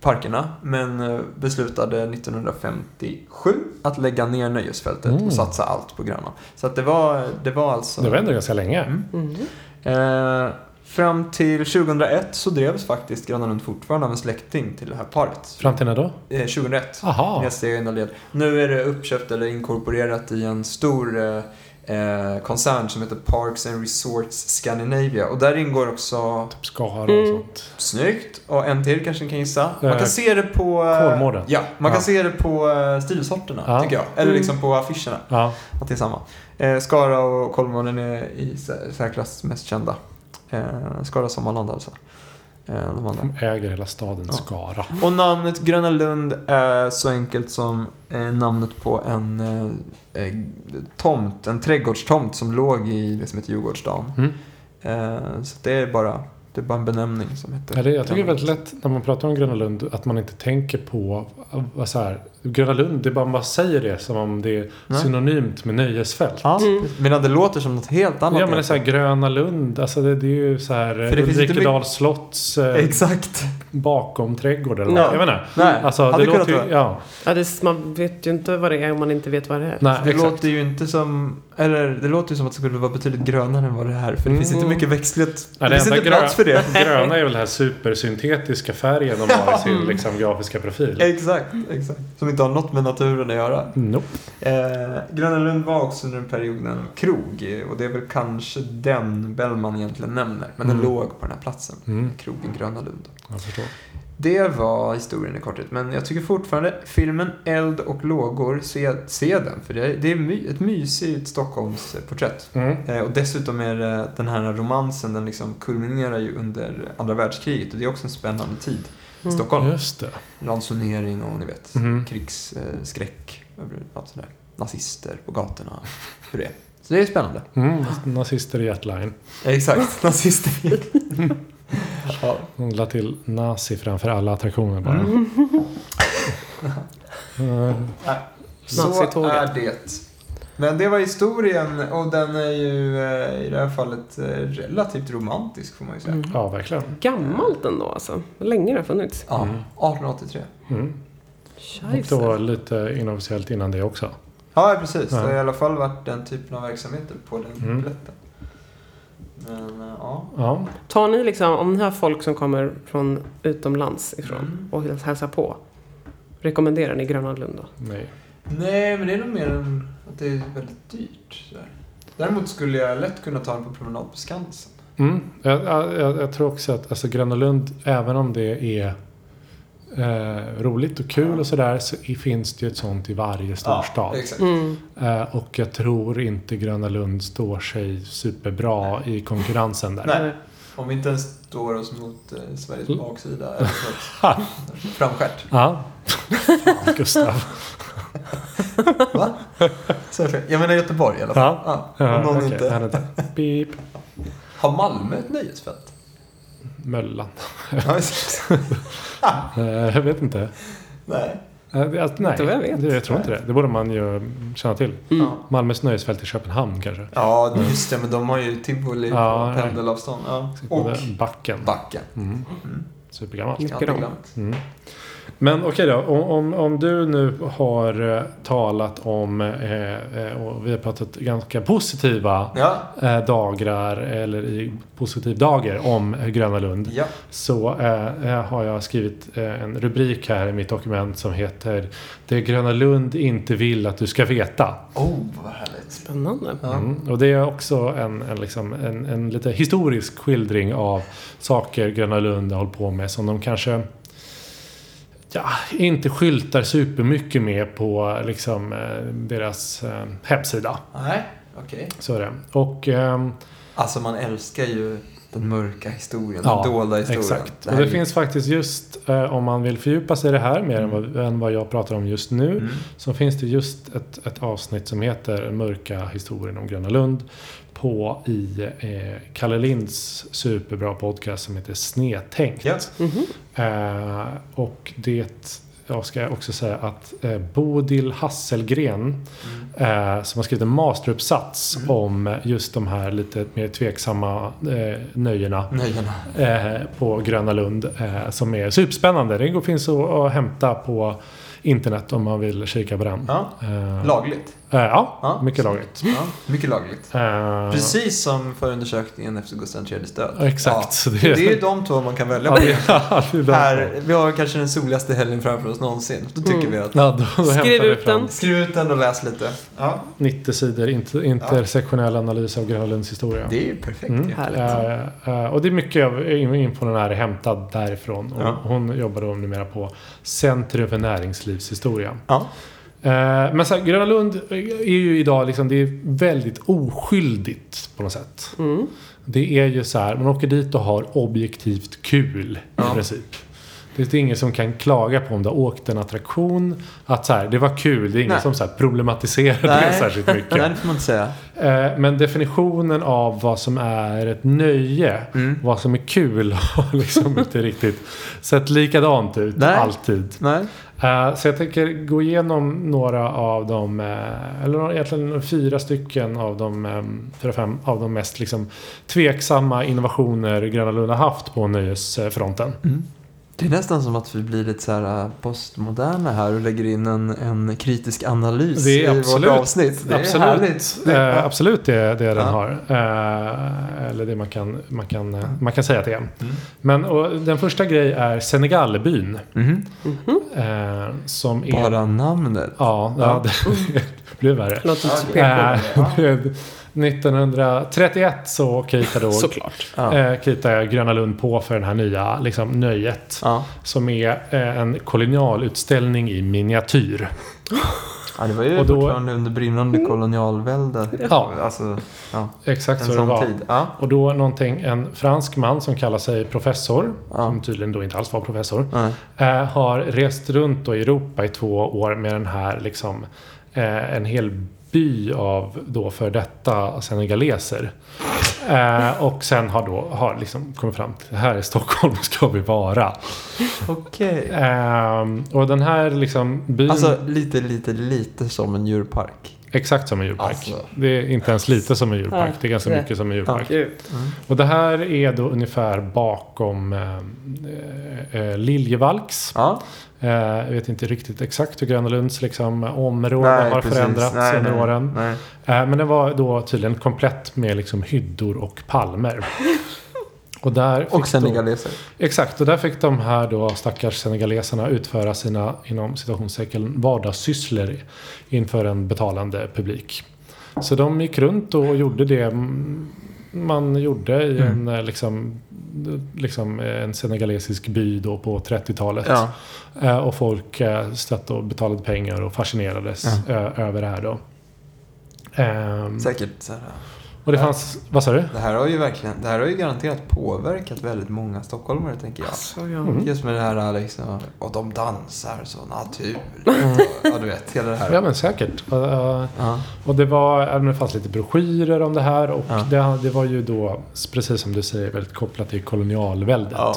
Speaker 3: parkerna men eh, beslutade 1957 att lägga ner Nöjesfältet
Speaker 1: Mm.
Speaker 3: och satsa allt på Grönan. Så att det, var, det var alltså...
Speaker 1: Det var ändå ganska länge.
Speaker 2: Mm.
Speaker 3: Eh, fram till 2001 så drevs faktiskt Gröna Lund fortfarande av en släkting till det här paret.
Speaker 1: Fram till när då?
Speaker 3: Eh, 2001.
Speaker 1: Aha.
Speaker 3: Nästa egna led. Nu är det uppköpt eller inkorporerat i en stor eh, eh, koncern som heter Parks and Resorts Scandinavia. Och där ingår också,
Speaker 1: Typ Skara och
Speaker 2: Mm.
Speaker 1: sånt.
Speaker 3: snyggt, och en till kanske ni kan gissa. Man
Speaker 1: Eh,
Speaker 3: kan se det på... eh,
Speaker 1: Kolmården.
Speaker 3: Ja, man kan
Speaker 1: Ja.
Speaker 3: se det på eh, stilsorterna
Speaker 1: Ja.
Speaker 3: tycker jag. Eller
Speaker 2: Mm.
Speaker 3: liksom på affischerna.
Speaker 1: Ja.
Speaker 3: Att det är samma. Eh, Skara och Kolmården är i sär- särklass mest kända. Eh, Skara Sommarland alltså. Eh, de andra.
Speaker 1: De äger hela staden
Speaker 3: Ja.
Speaker 1: Skara.
Speaker 3: Och namnet Gröna Lund är så enkelt som eh, namnet på en eh, eh, tomt, en trädgårdstomt som låg i det som heter Djurgårdsdagen.
Speaker 1: Mm.
Speaker 3: Eh, så det är bara, det är bara en benämning som heter
Speaker 1: Ja, det, jag tycker det är
Speaker 3: Gröna
Speaker 1: väldigt lätt när man pratar om Gröna Lund att man inte tänker på vad så här, Gröna Lund, det är bara man säger det som om det är
Speaker 3: Ja.
Speaker 1: synonymt med nöjesfält.
Speaker 3: Lund.
Speaker 2: Mm.
Speaker 3: Ja, Medan det låter som något helt annat.
Speaker 1: Ja men det är så här Gröna Lund, alltså det, det är ju så här
Speaker 3: det finns inte
Speaker 1: Ulrikedals slotts eh,
Speaker 3: Exakt.
Speaker 1: bakom trädgård eller
Speaker 2: Ja.
Speaker 1: vad. Jag menar.
Speaker 3: Nej,
Speaker 1: Alltså
Speaker 3: hade
Speaker 1: det
Speaker 3: kunnat
Speaker 1: låter ju,
Speaker 3: vara.
Speaker 1: ja.
Speaker 2: Ja, det, är s- man vet ju inte vad det är om man inte vet vad det är.
Speaker 1: Nej,
Speaker 3: Det
Speaker 1: exakt.
Speaker 3: låter ju inte som, eller det låter ju som att det skulle vara betydligt grönare än vad det är. För det
Speaker 1: Mm.
Speaker 3: finns inte mycket växtlighet.
Speaker 1: Nej,
Speaker 3: det finns
Speaker 1: enda
Speaker 3: inte plats för det.
Speaker 1: Gröna är väl den här supersyntetiska färgen de har i sin
Speaker 3: Ja.
Speaker 1: liksom, grafiska profil.
Speaker 3: Exakt, exakt. Som inte har något med naturen att göra.
Speaker 1: Nope.
Speaker 3: Eh, Gröna Lund var också under den perioden en krog eh, och det är väl kanske den Bellman egentligen nämner. Men den
Speaker 1: Mm.
Speaker 3: låg på den här platsen,
Speaker 1: Mm,
Speaker 3: krogen Gröna Lund.
Speaker 1: jag förstår.
Speaker 3: Det var historien i korthet, men jag tycker fortfarande filmen Eld och lågor, se, se den. För det är, det är my, ett mysigt Stockholmsporträtt.
Speaker 1: Mm.
Speaker 3: Eh, och dessutom är det, den här romansen, den liksom kulminerar ju under andra världskriget och det är också en spännande tid i
Speaker 2: Mm.
Speaker 3: Stockholm.
Speaker 1: Just det.
Speaker 3: Ransonering och ni vet,
Speaker 1: Mhm.
Speaker 3: krigsskräck. Något sånt där. Nazister på gatorna. Hur det är. Så det är spännande.
Speaker 1: Mm. Nazister i ett line.
Speaker 3: Exakt, nazister. ja. Mm.
Speaker 1: Hon la till nazi framför alla attraktioner bara. Eh,
Speaker 3: Så
Speaker 2: Nazitåget.
Speaker 3: är det. Men det var historien och den är ju eh, i det här fallet eh, relativt romantisk får man ju säga.
Speaker 2: Mm.
Speaker 1: Ja, verkligen.
Speaker 2: Gammalt ändå alltså. Länge det har funnits.
Speaker 3: Ja, 1883.
Speaker 1: Mm. Och
Speaker 2: Scheisse.
Speaker 1: då lite inofficiellt innan det också.
Speaker 3: Ja, precis.
Speaker 1: Ja.
Speaker 3: Det har i alla fall varit den typen av verksamheter på den
Speaker 1: Mm.
Speaker 3: plätten. Men eh, ja.
Speaker 1: Ja.
Speaker 2: Tar ni liksom, om ni har folk som kommer från utomlands ifrån
Speaker 3: Mm.
Speaker 2: och vill hälsa på. Rekommenderar ni Gröna Lund då?
Speaker 1: Nej.
Speaker 3: Nej, men det är nog mer än att det är väldigt dyrt. Sådär. Däremot skulle jag lätt kunna ta den på promenad på Skansen.
Speaker 1: Mm. Jag, jag, jag- jag tror också att alltså, Gröna Lund, även om det är eh, roligt och kul och sådär, så i- finns det ju ett sånt i varje storstad.
Speaker 3: Ja, exakt.
Speaker 2: Mm.
Speaker 1: eh, och jag tror inte Gröna Lund står sig superbra i konkurrensen där.
Speaker 2: Mm.
Speaker 3: Nej. Om vi inte ens står oss mot eh, Sveriges
Speaker 1: Mm.
Speaker 3: baksida eller något framskärt.
Speaker 1: Ja. Fan, Gustav.
Speaker 3: Va? Så jag fel. Jag menar Göteborg i alla fall. Ja. om någon
Speaker 1: okej,
Speaker 3: inte...
Speaker 1: han inte. Beep.
Speaker 3: Har Malmö ett nöjesfält?
Speaker 1: Möllan.
Speaker 3: Ja, exakt.
Speaker 1: Eh, jag vet inte.
Speaker 3: Nej.
Speaker 1: Eh, det- alltså, nej,
Speaker 2: Inte vad jag vet.
Speaker 1: Det, jag tror inte det. Det borde man ju känna till.
Speaker 2: Mm.
Speaker 3: Ja.
Speaker 1: Malmös nöjesfält i Köpenhamn kanske.
Speaker 3: Ja, just det. Men de har ju tivoli på
Speaker 1: Ja, nej.
Speaker 3: pendelavstånd. Ja.
Speaker 1: Och
Speaker 3: Och
Speaker 1: backen.
Speaker 3: backen.
Speaker 1: Mm.
Speaker 3: Mm.
Speaker 1: Supergammalt.
Speaker 2: Mycket
Speaker 3: Alltid
Speaker 2: om.
Speaker 3: glömt.
Speaker 1: Mm. Men okej då, om, om, om du nu har eh, talat om, eh, eh, och vi har pratat ganska positiva
Speaker 3: Ja.
Speaker 1: eh, dagrar, eller i positiv dager, om eh, Gröna Lund.
Speaker 3: Ja.
Speaker 1: Så eh, eh, har jag skrivit eh, en rubrik här i mitt dokument som heter Det Gröna Lund inte vill att du ska veta.
Speaker 3: Oh, vad härligt.
Speaker 2: Spännande.
Speaker 3: Ja.
Speaker 1: Mm. Och det är också en, en, liksom, en, en lite historisk skildring av saker Gröna Lund har hållit på med som de kanske ja, inte skyltar supermycket med på liksom, eh, deras eh, hemsida.
Speaker 3: Nej, okej.
Speaker 1: Så är det. Och, ehm,
Speaker 3: Alltså man älskar ju den mörka historien,
Speaker 1: Ja,
Speaker 3: den dolda historien.
Speaker 1: Exakt.
Speaker 3: här
Speaker 1: och det
Speaker 3: är ju-
Speaker 1: finns faktiskt just, eh, om man vill fördjupa sig i det här mer än, vad, än vad jag pratar om just nu,
Speaker 3: Mm.
Speaker 1: så finns det just ett, ett avsnitt som heter Mörka historien om Gröna Lund på i eh, Kalle Linds superbra podcast som heter Snedtänkt.
Speaker 3: Ja.
Speaker 2: Mhm.
Speaker 1: Eh, och det jag ska också säga att eh, Bodil Hasselgren
Speaker 3: Mm.
Speaker 1: eh, som har skrivit en masteruppsats om just de här lite mer tveksamma eh, nöjena
Speaker 3: Nöjena.
Speaker 1: eh, på Gröna Lund eh, som är superspännande. Det går- finns att, att hämta på internet om man vill kika på den.
Speaker 3: Ja.
Speaker 1: Eh,
Speaker 3: Lagligt.
Speaker 1: eh, ja,
Speaker 3: Ja.
Speaker 1: mycket lagligt.
Speaker 3: Ja, mycket lagligt.
Speaker 1: Eh,
Speaker 3: Precis som förundersökningen efter Gustav IIIs död.
Speaker 1: Ja, exakt.
Speaker 3: Ja. Det
Speaker 1: Det-
Speaker 3: är ju de två man kan välja
Speaker 1: Ja,
Speaker 3: på.
Speaker 1: det, ja, det är bra.
Speaker 3: Här, vi har kanske den soligaste helgen framför oss någonsin. Då tycker vi att
Speaker 1: Ja, då, då hämtar
Speaker 2: Skriv
Speaker 1: vi
Speaker 2: ut
Speaker 1: fram
Speaker 2: den.
Speaker 3: skriv ut den och läs lite. Ja,
Speaker 1: 90 sidor inter, intersektionell analys av Gröna Lunds historia.
Speaker 3: det är ju perfekt
Speaker 1: Mm.
Speaker 3: ju.
Speaker 2: Härligt.
Speaker 1: Eh, eh, och det är mycket av in- infon den här är hämtad därifrån. Och
Speaker 3: Ja.
Speaker 1: Hon jobbar då numera på Centrum för näringslivshistoria.
Speaker 3: Ja.
Speaker 1: Eh, Men så här, Gröna Lund är ju idag liksom, det är väldigt oskyldigt på något sätt.
Speaker 2: Mm.
Speaker 1: Det är ju så här, man åker dit och har objektivt kul
Speaker 3: Ja.
Speaker 1: i princip. Det är ingen som kan klaga på om du har åkt en attraktion. Att så här, det var kul. Det är ingen
Speaker 3: Nej.
Speaker 1: som så här problematiserar det
Speaker 3: Nej.
Speaker 1: särskilt mycket.
Speaker 3: Nej, det får man inte säga.
Speaker 1: Eh, Men definitionen av vad som är ett nöje,
Speaker 3: Mm.
Speaker 1: vad som är kul, har liksom inte riktigt sett likadant ut
Speaker 3: Nej.
Speaker 1: alltid.
Speaker 3: Nej.
Speaker 1: Eh, Så jag tänker gå igenom några av de, eh, eller egentligen fyra stycken av de, eh, fyra, fem av de mest liksom tveksamma innovationer Gröna Lund har haft på nöjesfronten.
Speaker 3: Det är nästan som att vi blir lite så här äh, postmoderna här och lägger in en, en kritisk analys
Speaker 1: Det är
Speaker 3: i
Speaker 1: absolut-
Speaker 3: vårt avsnitt. Det är
Speaker 1: absolut,
Speaker 3: härligt. Det
Speaker 1: Eh, absolut det, det den
Speaker 3: Ja.
Speaker 1: har. Eh, eller det man kan, man kan, eh, man kan säga att det är. Men och, den första grej är Senegalbyn.
Speaker 3: Mhm.
Speaker 1: Eh, som är...
Speaker 3: Bara namnet.
Speaker 1: Ja, ja det, det blir värre.
Speaker 2: Låter inte så
Speaker 3: Ja,
Speaker 2: PK.
Speaker 1: Eh, 1931 så kitade då
Speaker 2: Såklart.
Speaker 3: Ja.
Speaker 1: eh, kitade Gröna Lund på för den här nya liksom, nöjet.
Speaker 3: Ja.
Speaker 1: Som är eh, en kolonialutställning i miniatyr.
Speaker 3: ja, det var ju
Speaker 1: Och då-
Speaker 3: fortfarande under brinnande kolonialvälde.
Speaker 1: Ja.
Speaker 3: Alltså, ja.
Speaker 1: Exakt
Speaker 3: En
Speaker 1: så det
Speaker 3: sån
Speaker 1: var.
Speaker 3: tid. Ja.
Speaker 1: Och då någonting, en fransk man som kallar sig professor,
Speaker 3: Ja.
Speaker 1: som tydligen då inte alls var professor,
Speaker 3: Nej.
Speaker 1: eh, har rest runt då i Europa i två år med den här liksom eh, en hel by av då för detta senegaleser. Eh, och sen har då har liksom kommit fram till här i Stockholm ska vi vara.
Speaker 3: Okej.
Speaker 1: Eh, och den här liksom byn,
Speaker 3: Alltså lite, lite, lite som en djurpark.
Speaker 1: exakt som en djurpark.
Speaker 3: Alltså.
Speaker 1: Det är inte ens lite som en djurpark,
Speaker 2: Ja,
Speaker 1: det är ganska
Speaker 2: det.
Speaker 1: mycket som en djurpark.
Speaker 2: Gud.
Speaker 3: Mm.
Speaker 1: Och det här är då ungefär bakom eh, eh, Liljevalchs.
Speaker 3: Ja.
Speaker 1: Eh, jag vet inte riktigt exakt hur Gröna Lunds liksom, område har
Speaker 3: precis.
Speaker 1: förändrats
Speaker 3: Nej,
Speaker 1: under
Speaker 3: nej,
Speaker 1: åren.
Speaker 3: Nej.
Speaker 1: Eh, men den var då tydligen komplett med liksom, hyddor och palmer. Och, där fick
Speaker 3: Och
Speaker 1: de,
Speaker 3: senegaleser.
Speaker 1: Exakt, och där fick de här då stackars senegaleserna utföra sina inom citationstecken vardagssysslor inför en betalande publik. Så de gick runt och gjorde det mm, man gjorde i en,
Speaker 3: Mm.
Speaker 1: eh, liksom, liksom eh, en senegalesisk by då på 30-talet.
Speaker 3: Ja.
Speaker 1: Eh, Och folk eh, stötte och betalade pengar och fascinerades eh, över det här då. Ehm,
Speaker 3: Säkert. Så här.
Speaker 1: och det fanns, vad sa du?
Speaker 3: Det här har ju verkligen, det här har ju garanterat påverkat väldigt många stockholmare tänker jag.
Speaker 2: Så alltså, ja.
Speaker 1: Mm.
Speaker 3: Just med det här liksom, och de dansar så natur. Ja, du vet, hela det här.
Speaker 1: Mm. Ja men säkert. Eh,
Speaker 3: Ja.
Speaker 1: Och det, var, även om det fanns lite broschyrer om det här och
Speaker 3: Ja.
Speaker 1: det, det var ju då, precis som du säger, väldigt kopplat till kolonialväldet.
Speaker 3: Ja.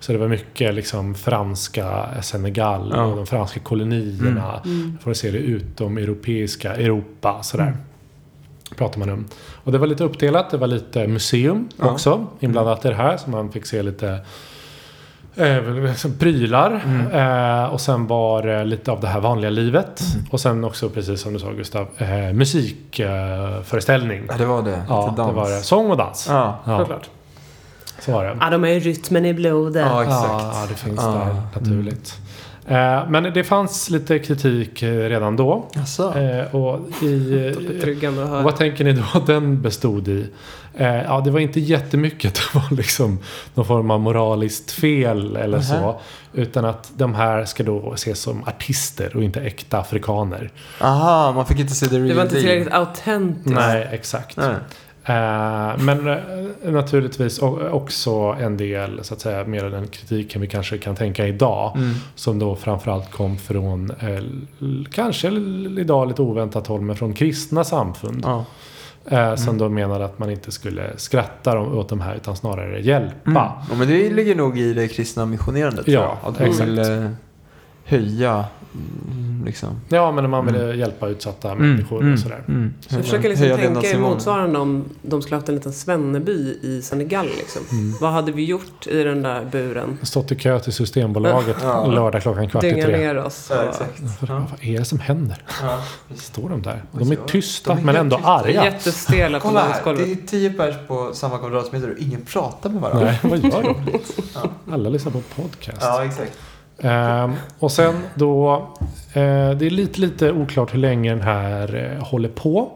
Speaker 1: Så det var mycket liksom franska Senegal
Speaker 3: Ja. Mm.
Speaker 1: och de franska kolonierna.
Speaker 2: Mm.
Speaker 1: För att se det utom europeiska Europa sådär. Pratar man om. Och det var lite uppdelat, det var lite museum
Speaker 3: Ja.
Speaker 1: också inblandat i det här. Så man fick se lite Eh, liksom prylar.
Speaker 3: Mm.
Speaker 1: Eh, och sen var det lite av det här vanliga livet.
Speaker 3: Mm.
Speaker 1: Och sen också, precis som du sa Gustav, eh, musikföreställning. Eh, föreställning.
Speaker 3: Ja, det var det.
Speaker 1: ja,
Speaker 3: Lite
Speaker 1: det
Speaker 3: dans.
Speaker 1: var det. Sång och dans.
Speaker 3: Ja,
Speaker 1: Ja,
Speaker 2: Såklart.
Speaker 1: så var det.
Speaker 2: Ja, de har ju rytmen i blodet.
Speaker 3: ja
Speaker 1: Ja,
Speaker 3: exakt.
Speaker 1: ja, det finns
Speaker 3: Ja. Mm.
Speaker 1: där naturligt. Eh, men det fanns lite kritik eh, redan då.
Speaker 3: Alltså,
Speaker 1: Eh, och i,
Speaker 2: Betryggande att
Speaker 1: och
Speaker 2: höra.
Speaker 1: vad tänker ni då att den bestod i? Eh, ja, det var inte jättemycket. Det var liksom någon form av moraliskt fel eller så.
Speaker 3: Mhm.
Speaker 1: Utan att de här ska då ses som artister och inte äkta afrikaner.
Speaker 3: aha, man fick inte se the real
Speaker 2: Det var inte
Speaker 3: deal.
Speaker 2: tillräckligt autentiskt.
Speaker 1: Nej, exakt.
Speaker 3: Nej.
Speaker 1: Eh, men eh, naturligtvis o- också en del, så att säga, mer av den kritiken vi kanske kan tänka idag.
Speaker 3: Mm.
Speaker 1: Som då framförallt kom från, eh, l- kanske l- idag lite oväntat håll, men från kristna samfund.
Speaker 3: Ja.
Speaker 1: Eh,
Speaker 3: Mm.
Speaker 1: som då menade att man inte skulle skratta dem- åt de här utan snarare hjälpa.
Speaker 3: Mm. Ja, men det ligger nog i det kristna missionerandet tror
Speaker 1: Ja,
Speaker 3: jag. Att man
Speaker 1: exakt.
Speaker 3: vill eh, höja mm, liksom.
Speaker 1: Ja, men man ville hjälpa utsatta
Speaker 3: Mm.
Speaker 1: människor och sådär.
Speaker 2: Jag försöker liksom
Speaker 3: Höja
Speaker 2: tänka i
Speaker 3: levnadsnivån.
Speaker 2: motsvarande om de skulle haft en liten svenneby i Senegal. Liksom.
Speaker 1: Mm.
Speaker 2: Vad hade vi gjort i den där buren?
Speaker 1: Stått i kö till Systembolaget
Speaker 3: Ja.
Speaker 1: lördag klockan kvart i
Speaker 2: Dynga
Speaker 1: tre.
Speaker 2: ner oss.
Speaker 3: Ja,
Speaker 2: och-
Speaker 3: exakt.
Speaker 1: För, Vad är det som händer?
Speaker 3: Ja.
Speaker 1: Står de där? De är
Speaker 3: Ja,
Speaker 1: tysta
Speaker 3: de är
Speaker 1: men
Speaker 3: helt
Speaker 1: ändå
Speaker 3: tysta.
Speaker 1: arga.
Speaker 2: Jättestela på
Speaker 3: Kolla här, det
Speaker 2: dansgolvet.
Speaker 3: är tio pers på samma kvadratmeter och ingen pratar med varandra.
Speaker 1: Nej, vad gör de? Alla lyssnar på podcast.
Speaker 3: Ja, exakt.
Speaker 1: Ehm, och sen då, eh, det är lite, lite oklart hur länge den här eh, håller på.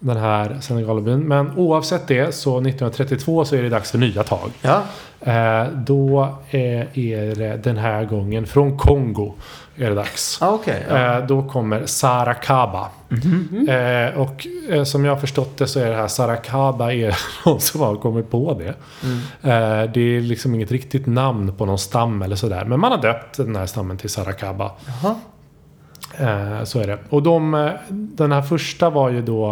Speaker 1: Den här Senegalbyn. Men oavsett det så 1932 så är det dags för nya tag.
Speaker 3: Ja,
Speaker 1: Eh, då eh, är det den här gången från Kongo är det dags.
Speaker 3: ah, okej. ja.
Speaker 1: Eh, då kommer Sarakaba. Eh, och eh, som jag har förstått det så är det här Sarakaba är någon som har kommit på det. Eh, det är liksom inget riktigt namn på någon stam eller sådär. Men man har döpt den här stammen till Sarakaba.
Speaker 3: Jaha.
Speaker 1: Eh, så är det. Och de, eh, den här första var ju då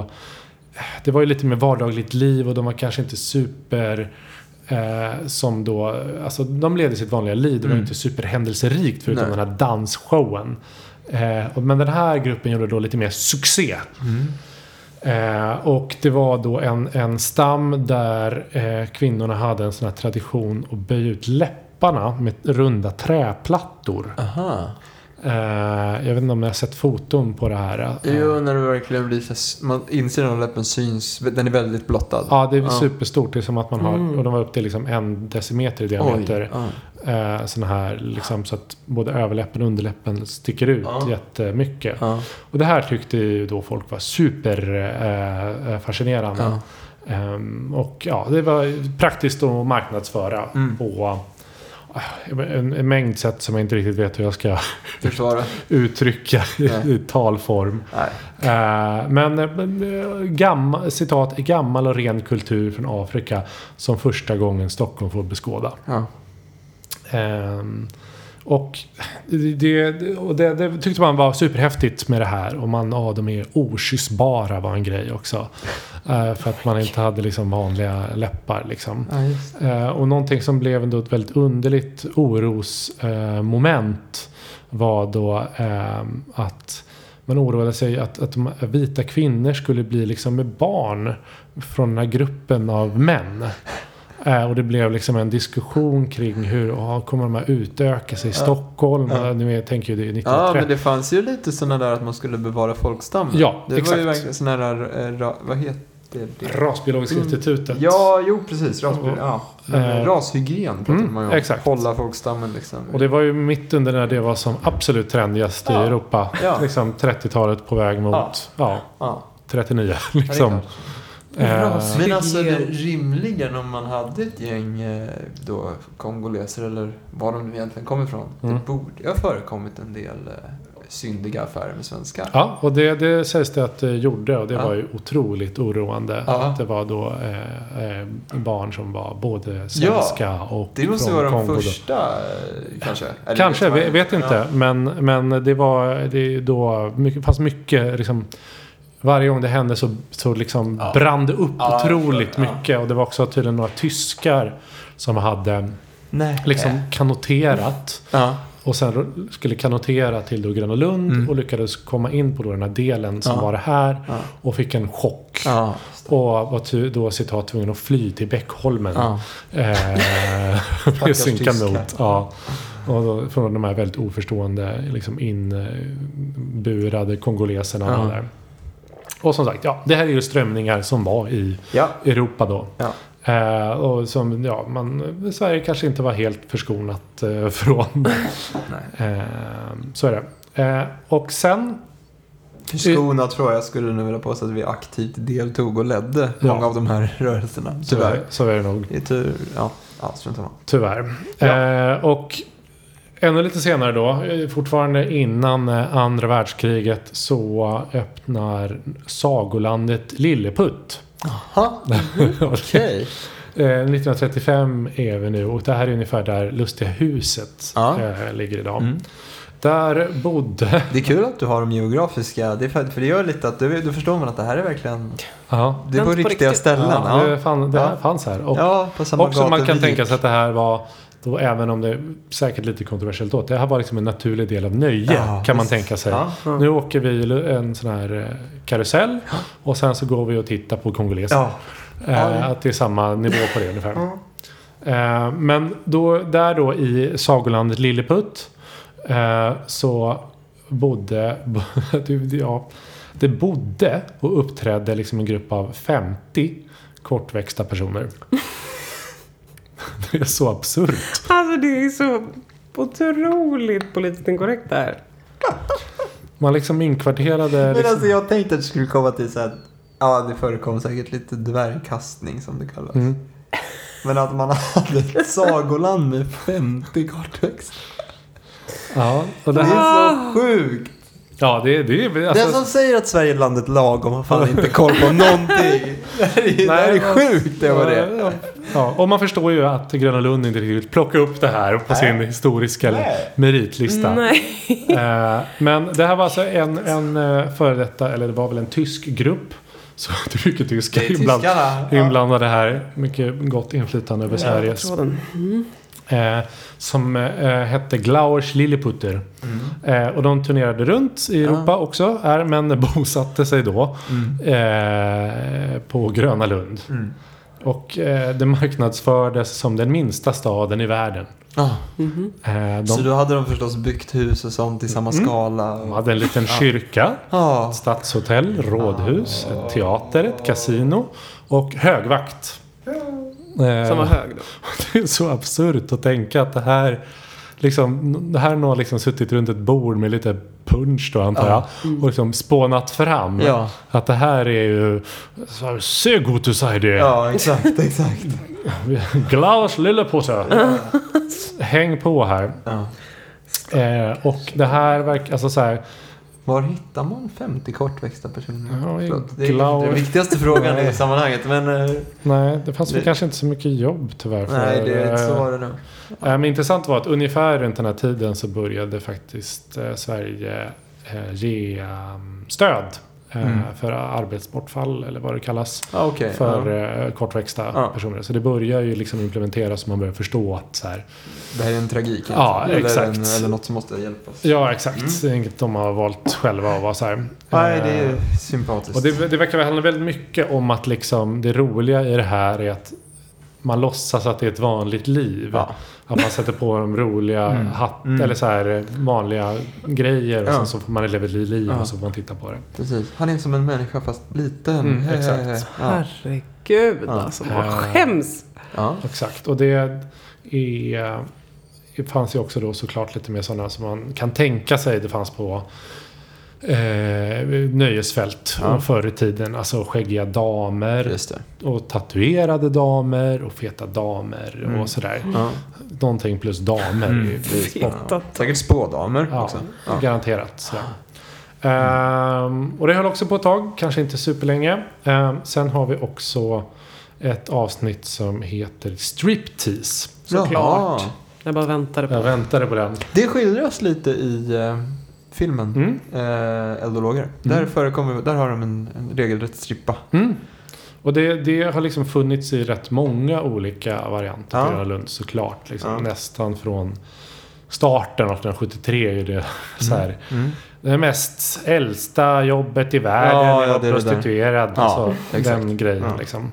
Speaker 1: eh, Det var ju lite mer vardagligt liv och de var kanske inte super eh, Som då Alltså de levde sitt vanliga liv. Det var ju inte superhändelserikt förutom
Speaker 3: Nej.
Speaker 1: den här dansshowen. Eh, och- men den här gruppen gjorde då lite mer succé.
Speaker 3: Mm.
Speaker 1: Eh, och det var då en, en stam där eh, kvinnorna hade en sån här tradition att böja ut läpparna med runda träplattor.
Speaker 3: Aha.
Speaker 1: Eh, jag vet inte om ni har sett foton på det här. Eh,
Speaker 3: Jo, när det verkligen blir så här- man insidan av läppen syns, den är väldigt blottad.
Speaker 1: Ja, det är superstort. Det är som att man har,
Speaker 3: Mm.
Speaker 1: och de var upp till liksom en decimeter i diameter.
Speaker 3: ja.
Speaker 1: Eh, sån här liksom så att både överläppen och underläppen sticker ut
Speaker 3: Ja.
Speaker 1: jättemycket.
Speaker 3: Ja.
Speaker 1: Och det här tyckte ju då folk var superfascinerande. Eh, fascinerande.
Speaker 3: Ja.
Speaker 1: Ehm, och ja, det var praktiskt att marknadsföra
Speaker 3: Mm.
Speaker 1: på eh, en, en mängd sätt som jag inte riktigt vet hur jag ska
Speaker 3: Försvara.
Speaker 1: uttrycka i,
Speaker 3: Nej.
Speaker 1: i talform.
Speaker 3: Nej.
Speaker 1: Eh, Men eh, gammal, citat, gammal och ren kultur från Afrika som första gången Stockholm får beskåda.
Speaker 3: Ja.
Speaker 1: Ehm, och det, det- och det, det tyckte man var superhäftigt med det här. Och man, ja de är okyssbara var en grej också. Eh, för att man inte hade liksom vanliga läppar liksom.
Speaker 3: Ja, just.
Speaker 1: Eh, och någonting som blev ändå ett väldigt underligt orosmoment eh, moment var då ehm, att man oroade sig att, att de vita kvinnor skulle bli liksom med barn från den här gruppen av män. Eh, och det blev liksom en diskussion kring hur ah, kommer de här utöka sig i Stockholm?
Speaker 3: Ja.
Speaker 1: Nu är, tänker ju det är
Speaker 3: ja,
Speaker 1: 1930.
Speaker 3: men det fanns ju lite sådana där att man skulle bevara folkstammen.
Speaker 1: Ja,
Speaker 3: det
Speaker 1: exakt.
Speaker 3: var ju verkligen sådana där, eh, ra, vad heter det?
Speaker 1: Rasbiologiska institutet.
Speaker 3: Mm. Ja, jo precis. Rasbild, ja. Men,
Speaker 1: Eh,
Speaker 3: eh, rashygien pratar
Speaker 1: mm,
Speaker 3: man ju om.
Speaker 1: exakt.
Speaker 3: Hålla folkstammen liksom.
Speaker 1: Och det var ju mitt under när det var som absolut trendigast
Speaker 3: Ja.
Speaker 1: i Europa.
Speaker 3: Ja.
Speaker 1: Liksom 30-talet på väg mot
Speaker 3: Ja.
Speaker 1: Ja,
Speaker 3: ja,
Speaker 1: 39.
Speaker 3: ja, det är
Speaker 1: Liksom.
Speaker 3: klart.
Speaker 1: Eh,
Speaker 2: Ras.
Speaker 3: Men alltså det, rimligen om man hade ett gäng eh, då, kongoleser eller var de nu egentligen kom ifrån.
Speaker 1: Mm.
Speaker 3: Det borde ju ha förekommit en del eh, syndiga affärer med svenskar.
Speaker 1: ja, och det, det sägs det att det gjorde och det
Speaker 3: Ja.
Speaker 1: var ju otroligt oroande.
Speaker 3: Ja.
Speaker 1: Att det var då eh, eh, barn som var både svenska och
Speaker 3: Det måste
Speaker 1: från
Speaker 3: vara de
Speaker 1: Kongo. då.
Speaker 3: första eh, kanske? Eller
Speaker 1: Kanske,
Speaker 3: man-
Speaker 1: vet, vet inte.
Speaker 3: Ja.
Speaker 1: Men, men det var det är då mycket, fanns mycket liksom, varje gång det hände så, så liksom
Speaker 3: Ja.
Speaker 1: brann det upp
Speaker 3: Ja,
Speaker 1: otroligt
Speaker 3: jag förstår. Ja.
Speaker 1: mycket. Och det var också tydligen några tyskar som hade
Speaker 3: Nej.
Speaker 1: liksom kanoterat
Speaker 3: Ja.
Speaker 1: Och sen skulle kanotera till då Gröna Lund och lyckades komma in på då den här delen som
Speaker 3: Mm. Ja.
Speaker 1: var det här.
Speaker 3: Ja.
Speaker 1: Och fick en chock.
Speaker 3: Ja.
Speaker 1: Och var ty- då citat tvungen att fly till Bäckholmen.
Speaker 3: Ja.
Speaker 1: Eh, med sin
Speaker 3: tyskar.
Speaker 1: kanot. Ja. Och då, från de här väldigt oförstående liksom inburade kongoleserna.
Speaker 3: Ja.
Speaker 1: Där. Och som sagt, ja, det här är ju strömningar som var i
Speaker 3: Ja.
Speaker 1: Europa då.
Speaker 3: Ja.
Speaker 1: Eh, och som, ja, man, Sverige kanske inte var helt förskonat eh, från.
Speaker 3: Nej.
Speaker 1: Eh, så är det. Eh, och sen,
Speaker 3: Förskonat tror jag skulle nu vilja påstå att vi aktivt deltog och ledde
Speaker 1: Ja.
Speaker 3: många av de här rörelserna.
Speaker 1: så,
Speaker 3: Tyvärr.
Speaker 1: så är det nog.
Speaker 3: Det är tur. Ja, ja strunt samma.
Speaker 1: Tyvärr. Eh, och ännu lite senare då, eh, fortfarande innan eh, andra världskriget, så öppnar sagolandet Lilleputt.
Speaker 3: Jaha,
Speaker 1: Okej.
Speaker 3: Mm. okej.
Speaker 1: Eh, 1935 är vi nu och det här är ungefär där Lustiga huset
Speaker 3: Ja.
Speaker 1: eh, ligger idag.
Speaker 3: Mm.
Speaker 1: Där bodde...
Speaker 3: Det är kul att du har de geografiska. Det är för, för det gör lite att du, du förstår man att det här är verkligen...
Speaker 1: Ja.
Speaker 3: Det är
Speaker 2: Hänt
Speaker 3: på
Speaker 2: på
Speaker 3: riktiga
Speaker 2: riktigt.
Speaker 3: ställen.
Speaker 1: Ja,
Speaker 3: Ja,
Speaker 1: det, fan, det här
Speaker 3: Ja.
Speaker 1: fanns här. Och,
Speaker 3: ja på samma
Speaker 1: och som man
Speaker 3: gata
Speaker 1: kan
Speaker 3: vi
Speaker 1: tänka
Speaker 3: gick.
Speaker 1: sig att det här var, då, även om det är säkert lite kontroversiellt åt, det här var liksom en naturlig del av nöje
Speaker 3: Ja,
Speaker 1: kan man
Speaker 3: visst.
Speaker 1: tänka sig.
Speaker 3: Ja, ja.
Speaker 1: Nu åker vi en sån här eh, karusell och sen så går vi och tittar på kongoleser.
Speaker 3: Ja.
Speaker 1: Eh,
Speaker 3: Ja.
Speaker 1: Att det är samma nivå på det ungefär. Eh, men då, där då i sagolandet Lilleputt eh, så bodde, du- ja, det bodde och uppträdde liksom en grupp av 50 kortväxta personer. det är så absurt.
Speaker 2: Alltså det är så otroligt politiskt inkorrekt det här.
Speaker 1: Man liksom inkvarterade...
Speaker 3: Men
Speaker 1: Liksom,
Speaker 3: alltså jag tänkte att det skulle komma till så här... Ja, det förekom säkert lite dvärgkastning som det kallas.
Speaker 1: Mm.
Speaker 3: Men att man hade ett sagoland med 50 kartväxt.
Speaker 1: ja, och
Speaker 3: Det
Speaker 1: det här,
Speaker 3: är så sjukt.
Speaker 1: ja, det, det, det, alltså,
Speaker 3: Den som säger att Sverige är landet lagom har fan inte koll på någonting. Det här är, det här är
Speaker 1: men-
Speaker 3: sjukt det var det.
Speaker 1: Ja, ja. Och man förstår ju att Gröna Lund inte riktigt vill plocka upp det här på sin historiska
Speaker 3: Nej.
Speaker 1: meritlista.
Speaker 2: Nej.
Speaker 1: Eh, men det här var alltså en, en eh, före detta, eller det var väl en tysk grupp. Så det är mycket tyska
Speaker 3: Det är
Speaker 1: inbland-
Speaker 3: tyskarna, ja.
Speaker 1: inblandade här. Mycket gott inflytande över Sveriges
Speaker 2: Tråden.
Speaker 1: Eh, som eh, hette Glauers Lilleputter.
Speaker 3: Mm.
Speaker 1: Eh, och de turnerade runt i Europa också, är, men bosatte sig då
Speaker 3: Mm.
Speaker 1: eh, på Gröna Lund. Och eh, det marknadsfördes som den minsta staden i världen.
Speaker 3: Ah,
Speaker 2: Mhm.
Speaker 1: Eh,
Speaker 3: Så
Speaker 1: de, Mm.
Speaker 3: då hade de förstås byggt hus och sånt i samma skala.
Speaker 1: de
Speaker 3: och-
Speaker 1: hade en liten kyrka,
Speaker 3: Ja.
Speaker 1: ett stadshotell, rådhus, ett teater, ett kasino och högvakt. Eh,
Speaker 2: Som var hög då.
Speaker 1: Det är så absurt att tänka att det här liksom, det här har någon liksom suttit runt ett bord med lite punch då antar jag. Och liksom spånat fram.
Speaker 3: Ja.
Speaker 1: Att det här är ju... Se gute sei det.
Speaker 3: Ja, exakt, exakt.
Speaker 1: Glaus lillepusse. Häng på här.
Speaker 3: Ja.
Speaker 1: Eh, och det här verkar... Alltså så här...
Speaker 3: Var hittar man 50 kortväxta personer?
Speaker 1: Ja, i
Speaker 3: Förlåt, det är
Speaker 1: Glau-
Speaker 3: inte den viktigaste frågan i sammanhanget, men... eh,
Speaker 1: Nej, det fanns väl
Speaker 3: Det-
Speaker 1: kanske inte så mycket jobb tyvärr. För,
Speaker 3: Nej, det är inte så
Speaker 1: eh,
Speaker 3: var det nu.
Speaker 1: Eh, Men intressant var att ungefär runt den här tiden så började faktiskt eh, Sverige eh, ge eh, stöd eh, för arbetsbortfall eller vad det kallas.
Speaker 3: Ah, okej.
Speaker 1: För
Speaker 3: Mm. ja.
Speaker 1: eh, kortväxta
Speaker 3: Ja.
Speaker 1: personer. Så det börjar ju liksom implementeras och man börjar förstå att så här,
Speaker 3: Det här är en tragik.
Speaker 1: Ja,
Speaker 3: eller,
Speaker 1: exakt.
Speaker 3: En, eller något som måste hjälpas.
Speaker 1: ja exakt, inget de har valt själva att vara så här.
Speaker 3: Mm. Nej, det
Speaker 1: Eh,
Speaker 3: är sympatiskt.
Speaker 1: Och det, det verkar handla väldigt mycket om att liksom det roliga i det här är att man låtsas att det är ett vanligt liv.
Speaker 3: Ja.
Speaker 1: Att man sätter på dem roliga hatt eller så här eh, vanliga grejer och
Speaker 3: Mm. Ja.
Speaker 1: sen så får man leva ett liv
Speaker 3: Ja.
Speaker 1: och så får man titta på det.
Speaker 3: Precis. Han är som en människa fast liten.
Speaker 1: Mm,
Speaker 3: He- he-
Speaker 1: exakt.
Speaker 3: he. Ja.
Speaker 2: Herregud
Speaker 3: Ja.
Speaker 2: alltså. Man
Speaker 1: Ja.
Speaker 2: skäms.
Speaker 3: Ja.
Speaker 1: Exakt. Och det är... Det fanns ju också då såklart lite mer sådana som man kan tänka sig det fanns på eh, nöjesfält
Speaker 3: Ja.
Speaker 1: och förr i tiden. Alltså skäggiga damer.
Speaker 3: Just det.
Speaker 1: Och tatuerade damer och feta damer
Speaker 3: Mm.
Speaker 1: och sådär.
Speaker 3: Ja.
Speaker 1: Någonting plus damer.
Speaker 3: Mm.
Speaker 1: är ju
Speaker 2: Fittat.
Speaker 3: Säkert spådamer
Speaker 1: Ja,
Speaker 3: också. Ja.
Speaker 1: Garanterat. Så. Ehm, och det höll också på ett tag, kanske inte superlänge. Ehm, sen har vi också ett avsnitt som heter Striptease.
Speaker 2: Såklart.
Speaker 3: Jaha.
Speaker 2: Jag bara väntade på
Speaker 1: Jag väntade på den.
Speaker 3: Det skildras lite i eh, filmen
Speaker 1: Mm.
Speaker 3: eh, Eldologer. Där, förekommer, där har de en, en regelrätt strippa.
Speaker 1: Mm. Och det, det har liksom funnits i rätt många olika varianter på
Speaker 3: Ja.
Speaker 1: Gröna Lund såklart. Liksom.
Speaker 3: Ja.
Speaker 1: Nästan från starten 1873 är ju det så här.
Speaker 3: Mm.
Speaker 1: Det mest äldsta jobbet i världen
Speaker 3: Ja,
Speaker 1: är
Speaker 3: ja,
Speaker 1: att
Speaker 3: det är
Speaker 1: vara
Speaker 3: det där.
Speaker 1: prostituerad.
Speaker 3: Ja,
Speaker 1: alltså,
Speaker 3: exakt.
Speaker 1: den grejen
Speaker 3: Ja.
Speaker 1: liksom.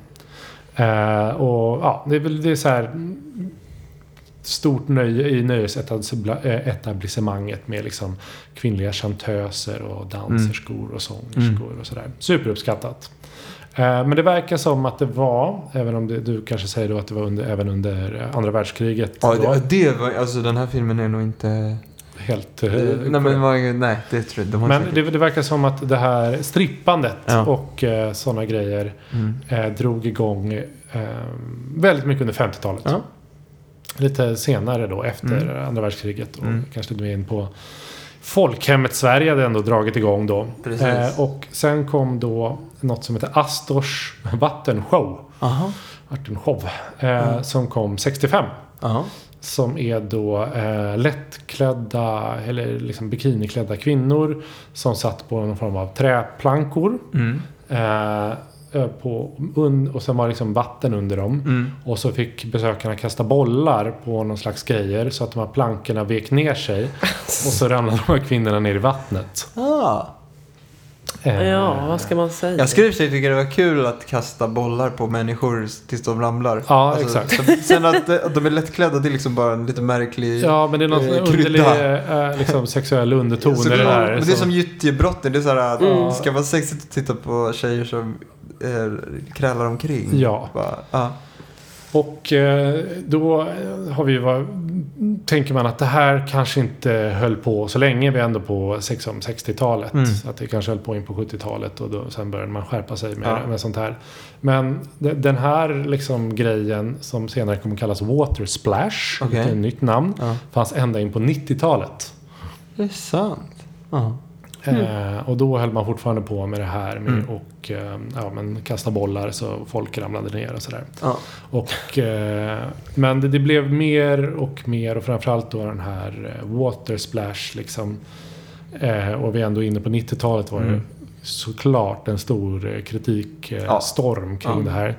Speaker 1: Eh, och ja, det är väl det är så här. mm, Stort nöje i nöjesetablissemanget med liksom kvinnliga chantöser och danserskor och sångerskor
Speaker 3: Mm.
Speaker 1: och sådär. Superuppskattat. Eh, Men det verkar som att det var, även om det, du kanske säger då att det var under, även under eh, andra världskriget.
Speaker 3: Ja,
Speaker 1: då,
Speaker 3: det, det var, alltså den här filmen är nog inte...
Speaker 1: helt, eh,
Speaker 3: nej, men, vad- nej, det tror jag. De har
Speaker 1: men
Speaker 3: säkert-
Speaker 1: det, det verkar som att det här strippandet
Speaker 3: Ja.
Speaker 1: och eh, sådana grejer
Speaker 3: Mm.
Speaker 1: eh, drog igång eh, väldigt mycket under 50-talet.
Speaker 3: Ja.
Speaker 1: Lite senare då efter
Speaker 3: Mm.
Speaker 1: andra världskriget och
Speaker 3: Mm.
Speaker 1: kanske lite mer in på folkhemmet Sverige hade ändå dragit igång då. Eh,
Speaker 3: Precis.
Speaker 1: och sen kom då något som heter Astors vattenshow.
Speaker 3: Aha.
Speaker 1: Vattenshow. Eh,
Speaker 3: Mm.
Speaker 1: Som kom 65.
Speaker 3: Aha.
Speaker 1: Som är då eh, lättklädda eller liksom bikiniklädda kvinnor som satt på någon form av träplankor.
Speaker 3: Mm.
Speaker 1: Eh, eh, på, un, och sen var det liksom vatten under dem.
Speaker 3: Mm.
Speaker 1: Och så fick besökarna kasta bollar på någon slags grejer så att de här plankorna vek ner sig. Och så ramlade de här kvinnorna ner i vattnet.
Speaker 3: Ah.
Speaker 1: Eh,
Speaker 2: Ja, vad ska man säga?
Speaker 3: Jag skulle i och för sig tycka det var kul att kasta bollar på människor tills de ramlar. Alltså,
Speaker 1: Ja, exakt.
Speaker 3: sen- Sen att, eh, att de är lättklädda det är liksom bara en lite märklig...
Speaker 1: Ja, men det är någon
Speaker 3: Eh,
Speaker 1: underlig
Speaker 3: krydda.
Speaker 1: eh, liksom, sexuell underton
Speaker 3: Så
Speaker 1: i det
Speaker 3: Alltså, det,
Speaker 1: där.
Speaker 3: men det är som
Speaker 1: som-
Speaker 3: gyttjebrotten. Det är så här att
Speaker 1: Mm.
Speaker 3: ska vara sexigt att titta på tjejer som eh, krälar omkring.
Speaker 1: Ja.
Speaker 3: Bara, ah.
Speaker 1: Och eh, då har vi ju var, tänker man att det här kanske inte höll på så länge. Vi är ändå på liksom, 60-talet.
Speaker 3: Mm.
Speaker 1: Att det kanske höll på in på 70-talet och då, sen började man skärpa sig med,
Speaker 3: Ja.
Speaker 1: med sånt här. Men de- den här liksom, grejen som senare kommer kallas Water Splash.
Speaker 3: Okej.
Speaker 1: vilket är Ett nytt namn.
Speaker 3: Ja.
Speaker 1: Fanns ända in på 90-talet.
Speaker 3: Det är sant. Ja.
Speaker 1: Eh, och då höll man fortfarande på med det här med
Speaker 3: Mm.
Speaker 1: och eh, ja, men kasta bollar så folk ramlade ner och sådär.
Speaker 3: Ja.
Speaker 1: Och, eh, men det, det blev mer och mer och framförallt då den här eh, water splash liksom. Eh, och vi är ändå inne på 90-talet var det
Speaker 3: Mm.
Speaker 1: såklart en stor kritikstorm eh,
Speaker 3: Ja.
Speaker 1: storm kring
Speaker 3: Ja.
Speaker 1: det här.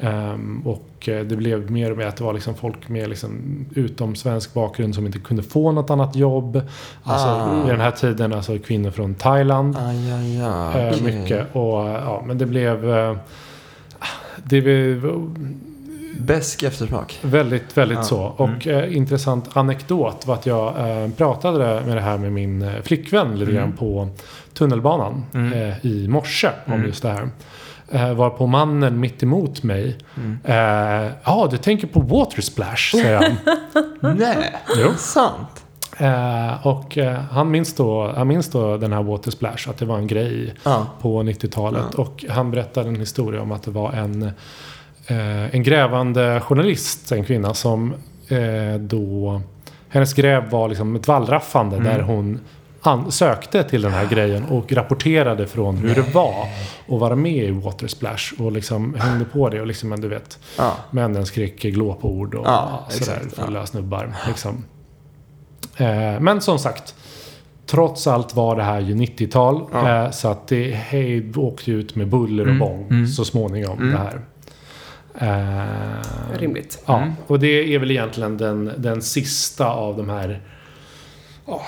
Speaker 1: Ehm, och eh, det blev mer och mer att det var liksom folk med liksom utom svensk bakgrund som inte kunde få något annat jobb. Alltså
Speaker 3: Ah.
Speaker 1: i den här tiden alltså kvinnor från Thailand.
Speaker 3: Aj, aj, aj.
Speaker 1: Eh,
Speaker 3: Ah, Okej.
Speaker 1: Mycket. Och, eh, ja, men det blev... eh, Det blev
Speaker 3: Bäsk eftersmak.
Speaker 1: Väldigt, väldigt
Speaker 3: Ja. Mm.
Speaker 1: så. Och eh, intressant anekdot var att jag eh, pratade med det här med min eh, flickvän lite
Speaker 3: Mm.
Speaker 1: grann på tunnelbanan
Speaker 3: Mm.
Speaker 1: eh, i morse om
Speaker 3: Mm.
Speaker 1: just det här. Eh, varpå mannen mitt emot mig.
Speaker 3: Mm.
Speaker 1: Ja, eh, "Ja, du tänker på water splash, säger han.
Speaker 3: Nej,
Speaker 1: Jo.
Speaker 3: sant.
Speaker 1: eh, och eh, han, minns då, han minns då den här water splash, att det var en grej
Speaker 3: Ja.
Speaker 1: på 90-talet. Och han berättade en historia om att det var en, eh, en grävande journalist, en kvinna som eh, då... Hennes gräv var liksom ett vallraffande där hon an- sökte till den här grejen och rapporterade från hur det var att vara med i Water Splash och liksom hängde på det och liksom, men du vet,
Speaker 3: Ja.
Speaker 1: männen skrek glåpord och
Speaker 3: Ja,
Speaker 1: sådär,
Speaker 3: exakt, ja.
Speaker 1: fulla snubbar liksom. Eh, men som sagt, trots allt var det här ju 90-tal.
Speaker 3: Ja.
Speaker 1: Eh, så att det hej, åkte ju ut med buller och
Speaker 3: Mm,
Speaker 1: bång
Speaker 3: mm.
Speaker 1: så småningom
Speaker 3: Mm.
Speaker 1: det här. Eh,
Speaker 2: Rimligt.
Speaker 1: Ja,
Speaker 3: Mm.
Speaker 1: och det är väl egentligen den, den sista av de här ja,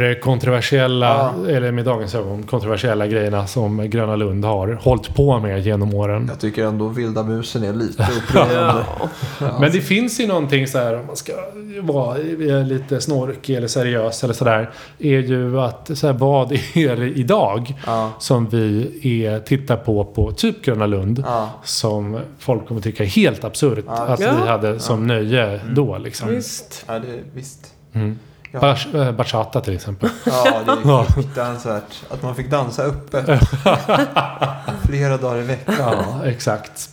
Speaker 1: superkontroversiella, eller med dagens ögon kontroversiella grejerna som Gröna Lund har hållit på med genom åren.
Speaker 3: Jag tycker ändå vilda musen är lite upprörande.
Speaker 2: Ja.
Speaker 1: Men det finns ju någonting så här om man ska vara lite snorkig eller seriös eller sådär. Är ju att så här, vad är det idag
Speaker 3: Ja.
Speaker 1: som vi är, tittar på på typ Gröna Lund.
Speaker 3: Ja.
Speaker 1: Som folk kommer tycka är helt absurt
Speaker 3: Ja.
Speaker 1: att
Speaker 2: Ja.
Speaker 1: vi hade som nöje då liksom.
Speaker 2: Visst.
Speaker 3: Ja, det, visst.
Speaker 1: Mm.
Speaker 3: Ja.
Speaker 1: Bach- eh, Bachata till exempel.
Speaker 3: Ja, det
Speaker 1: Ja.
Speaker 3: är fruktansvärt. Att man fick dansa uppe. Flera dagar i veckan.
Speaker 1: Ja, exakt.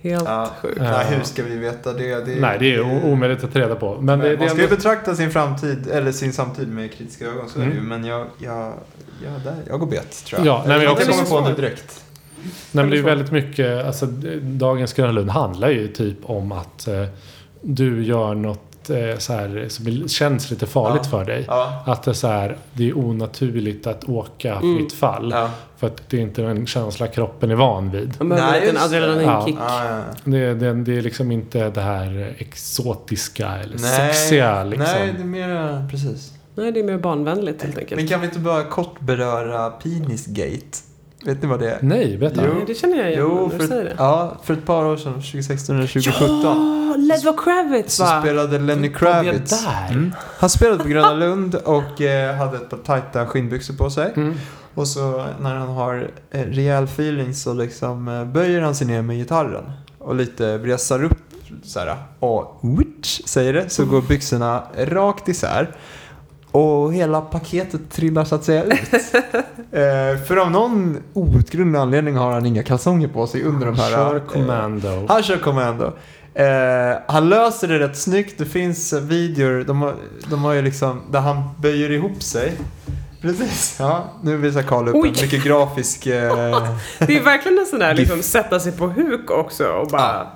Speaker 2: Helt
Speaker 3: Ja.
Speaker 2: sjukt.
Speaker 3: Nej, hur ska vi veta det? det
Speaker 1: Nej, det är o- omöjligt att ta reda på. Men det, det
Speaker 3: man
Speaker 1: är
Speaker 3: ska ju
Speaker 1: ändå...
Speaker 3: betrakta sin framtid, eller sin samtid med kritiska ögon, så är det ju.
Speaker 1: Mm.
Speaker 3: Men jag, jag, jag, där, jag går bet, tror jag.
Speaker 1: Ja, nej, men jag
Speaker 3: jag
Speaker 1: också-
Speaker 3: kommer på det direkt.
Speaker 1: Nej, men det är ju väldigt mycket, alltså, dagens Gröna Lund handlar ju typ om att eh, du gör något ett eh, så här, som blir- känns lite farligt
Speaker 3: Ja.
Speaker 1: för dig.
Speaker 3: Ja.
Speaker 1: Att det är, så här, det är onaturligt att åka fritt fall.
Speaker 3: Mm. Ja.
Speaker 1: För att det är inte en känsla kroppen är van vid.
Speaker 2: Man behöver
Speaker 3: Nej,
Speaker 2: lite en
Speaker 3: just det.
Speaker 2: adrenalinkick.
Speaker 3: Ja, ja, ja.
Speaker 1: Det, är- det, det är liksom inte det här exotiska eller
Speaker 3: Nej,
Speaker 1: sexiga. Liksom.
Speaker 3: Nej, det är mer... Precis.
Speaker 2: Nej, det är mer barnvänligt helt enkelt.
Speaker 3: Men kan vi inte bara kort beröra penisgate? Vet ni vad det är?
Speaker 1: Nej, berätta.
Speaker 3: Jo.
Speaker 2: Nej, det känner jag igen
Speaker 3: Jo,
Speaker 2: när
Speaker 3: för,
Speaker 2: du säger det. Ah,
Speaker 3: Ja, för ett par år sedan, 2016 eller 2017,
Speaker 2: Ja, Ledvo Kravitz
Speaker 3: så
Speaker 2: va?
Speaker 3: spelade Lenny
Speaker 1: Vad är det
Speaker 3: Kravitz.
Speaker 1: där?
Speaker 3: Mm. Han spelade på Gröna Lund och eh, hade ett par tajta skinnbyxor på sig.
Speaker 1: Mm.
Speaker 3: Och så när han har eh, rejäl feeling så liksom eh, böjer han sig ner med gitarren och lite vresar upp så här och witch, säger det så går byxorna rakt isär. Och hela paketet trillar så att säga ut. eh, för av någon outgrundlig anledning har han inga kalsonger på sig under de här...
Speaker 1: Kör
Speaker 3: eh,
Speaker 1: Commando.
Speaker 3: han kör kommando. Eh, han löser det rätt snyggt. Det finns eh, videor de har, de har ju liksom, där han böjer ihop sig. Precis. Ja, nu visar Karl upp
Speaker 2: Oj.
Speaker 3: en mycket grafisk... Eh,
Speaker 2: Det är verkligen en sån där liksom sätta sig på huk också och bara...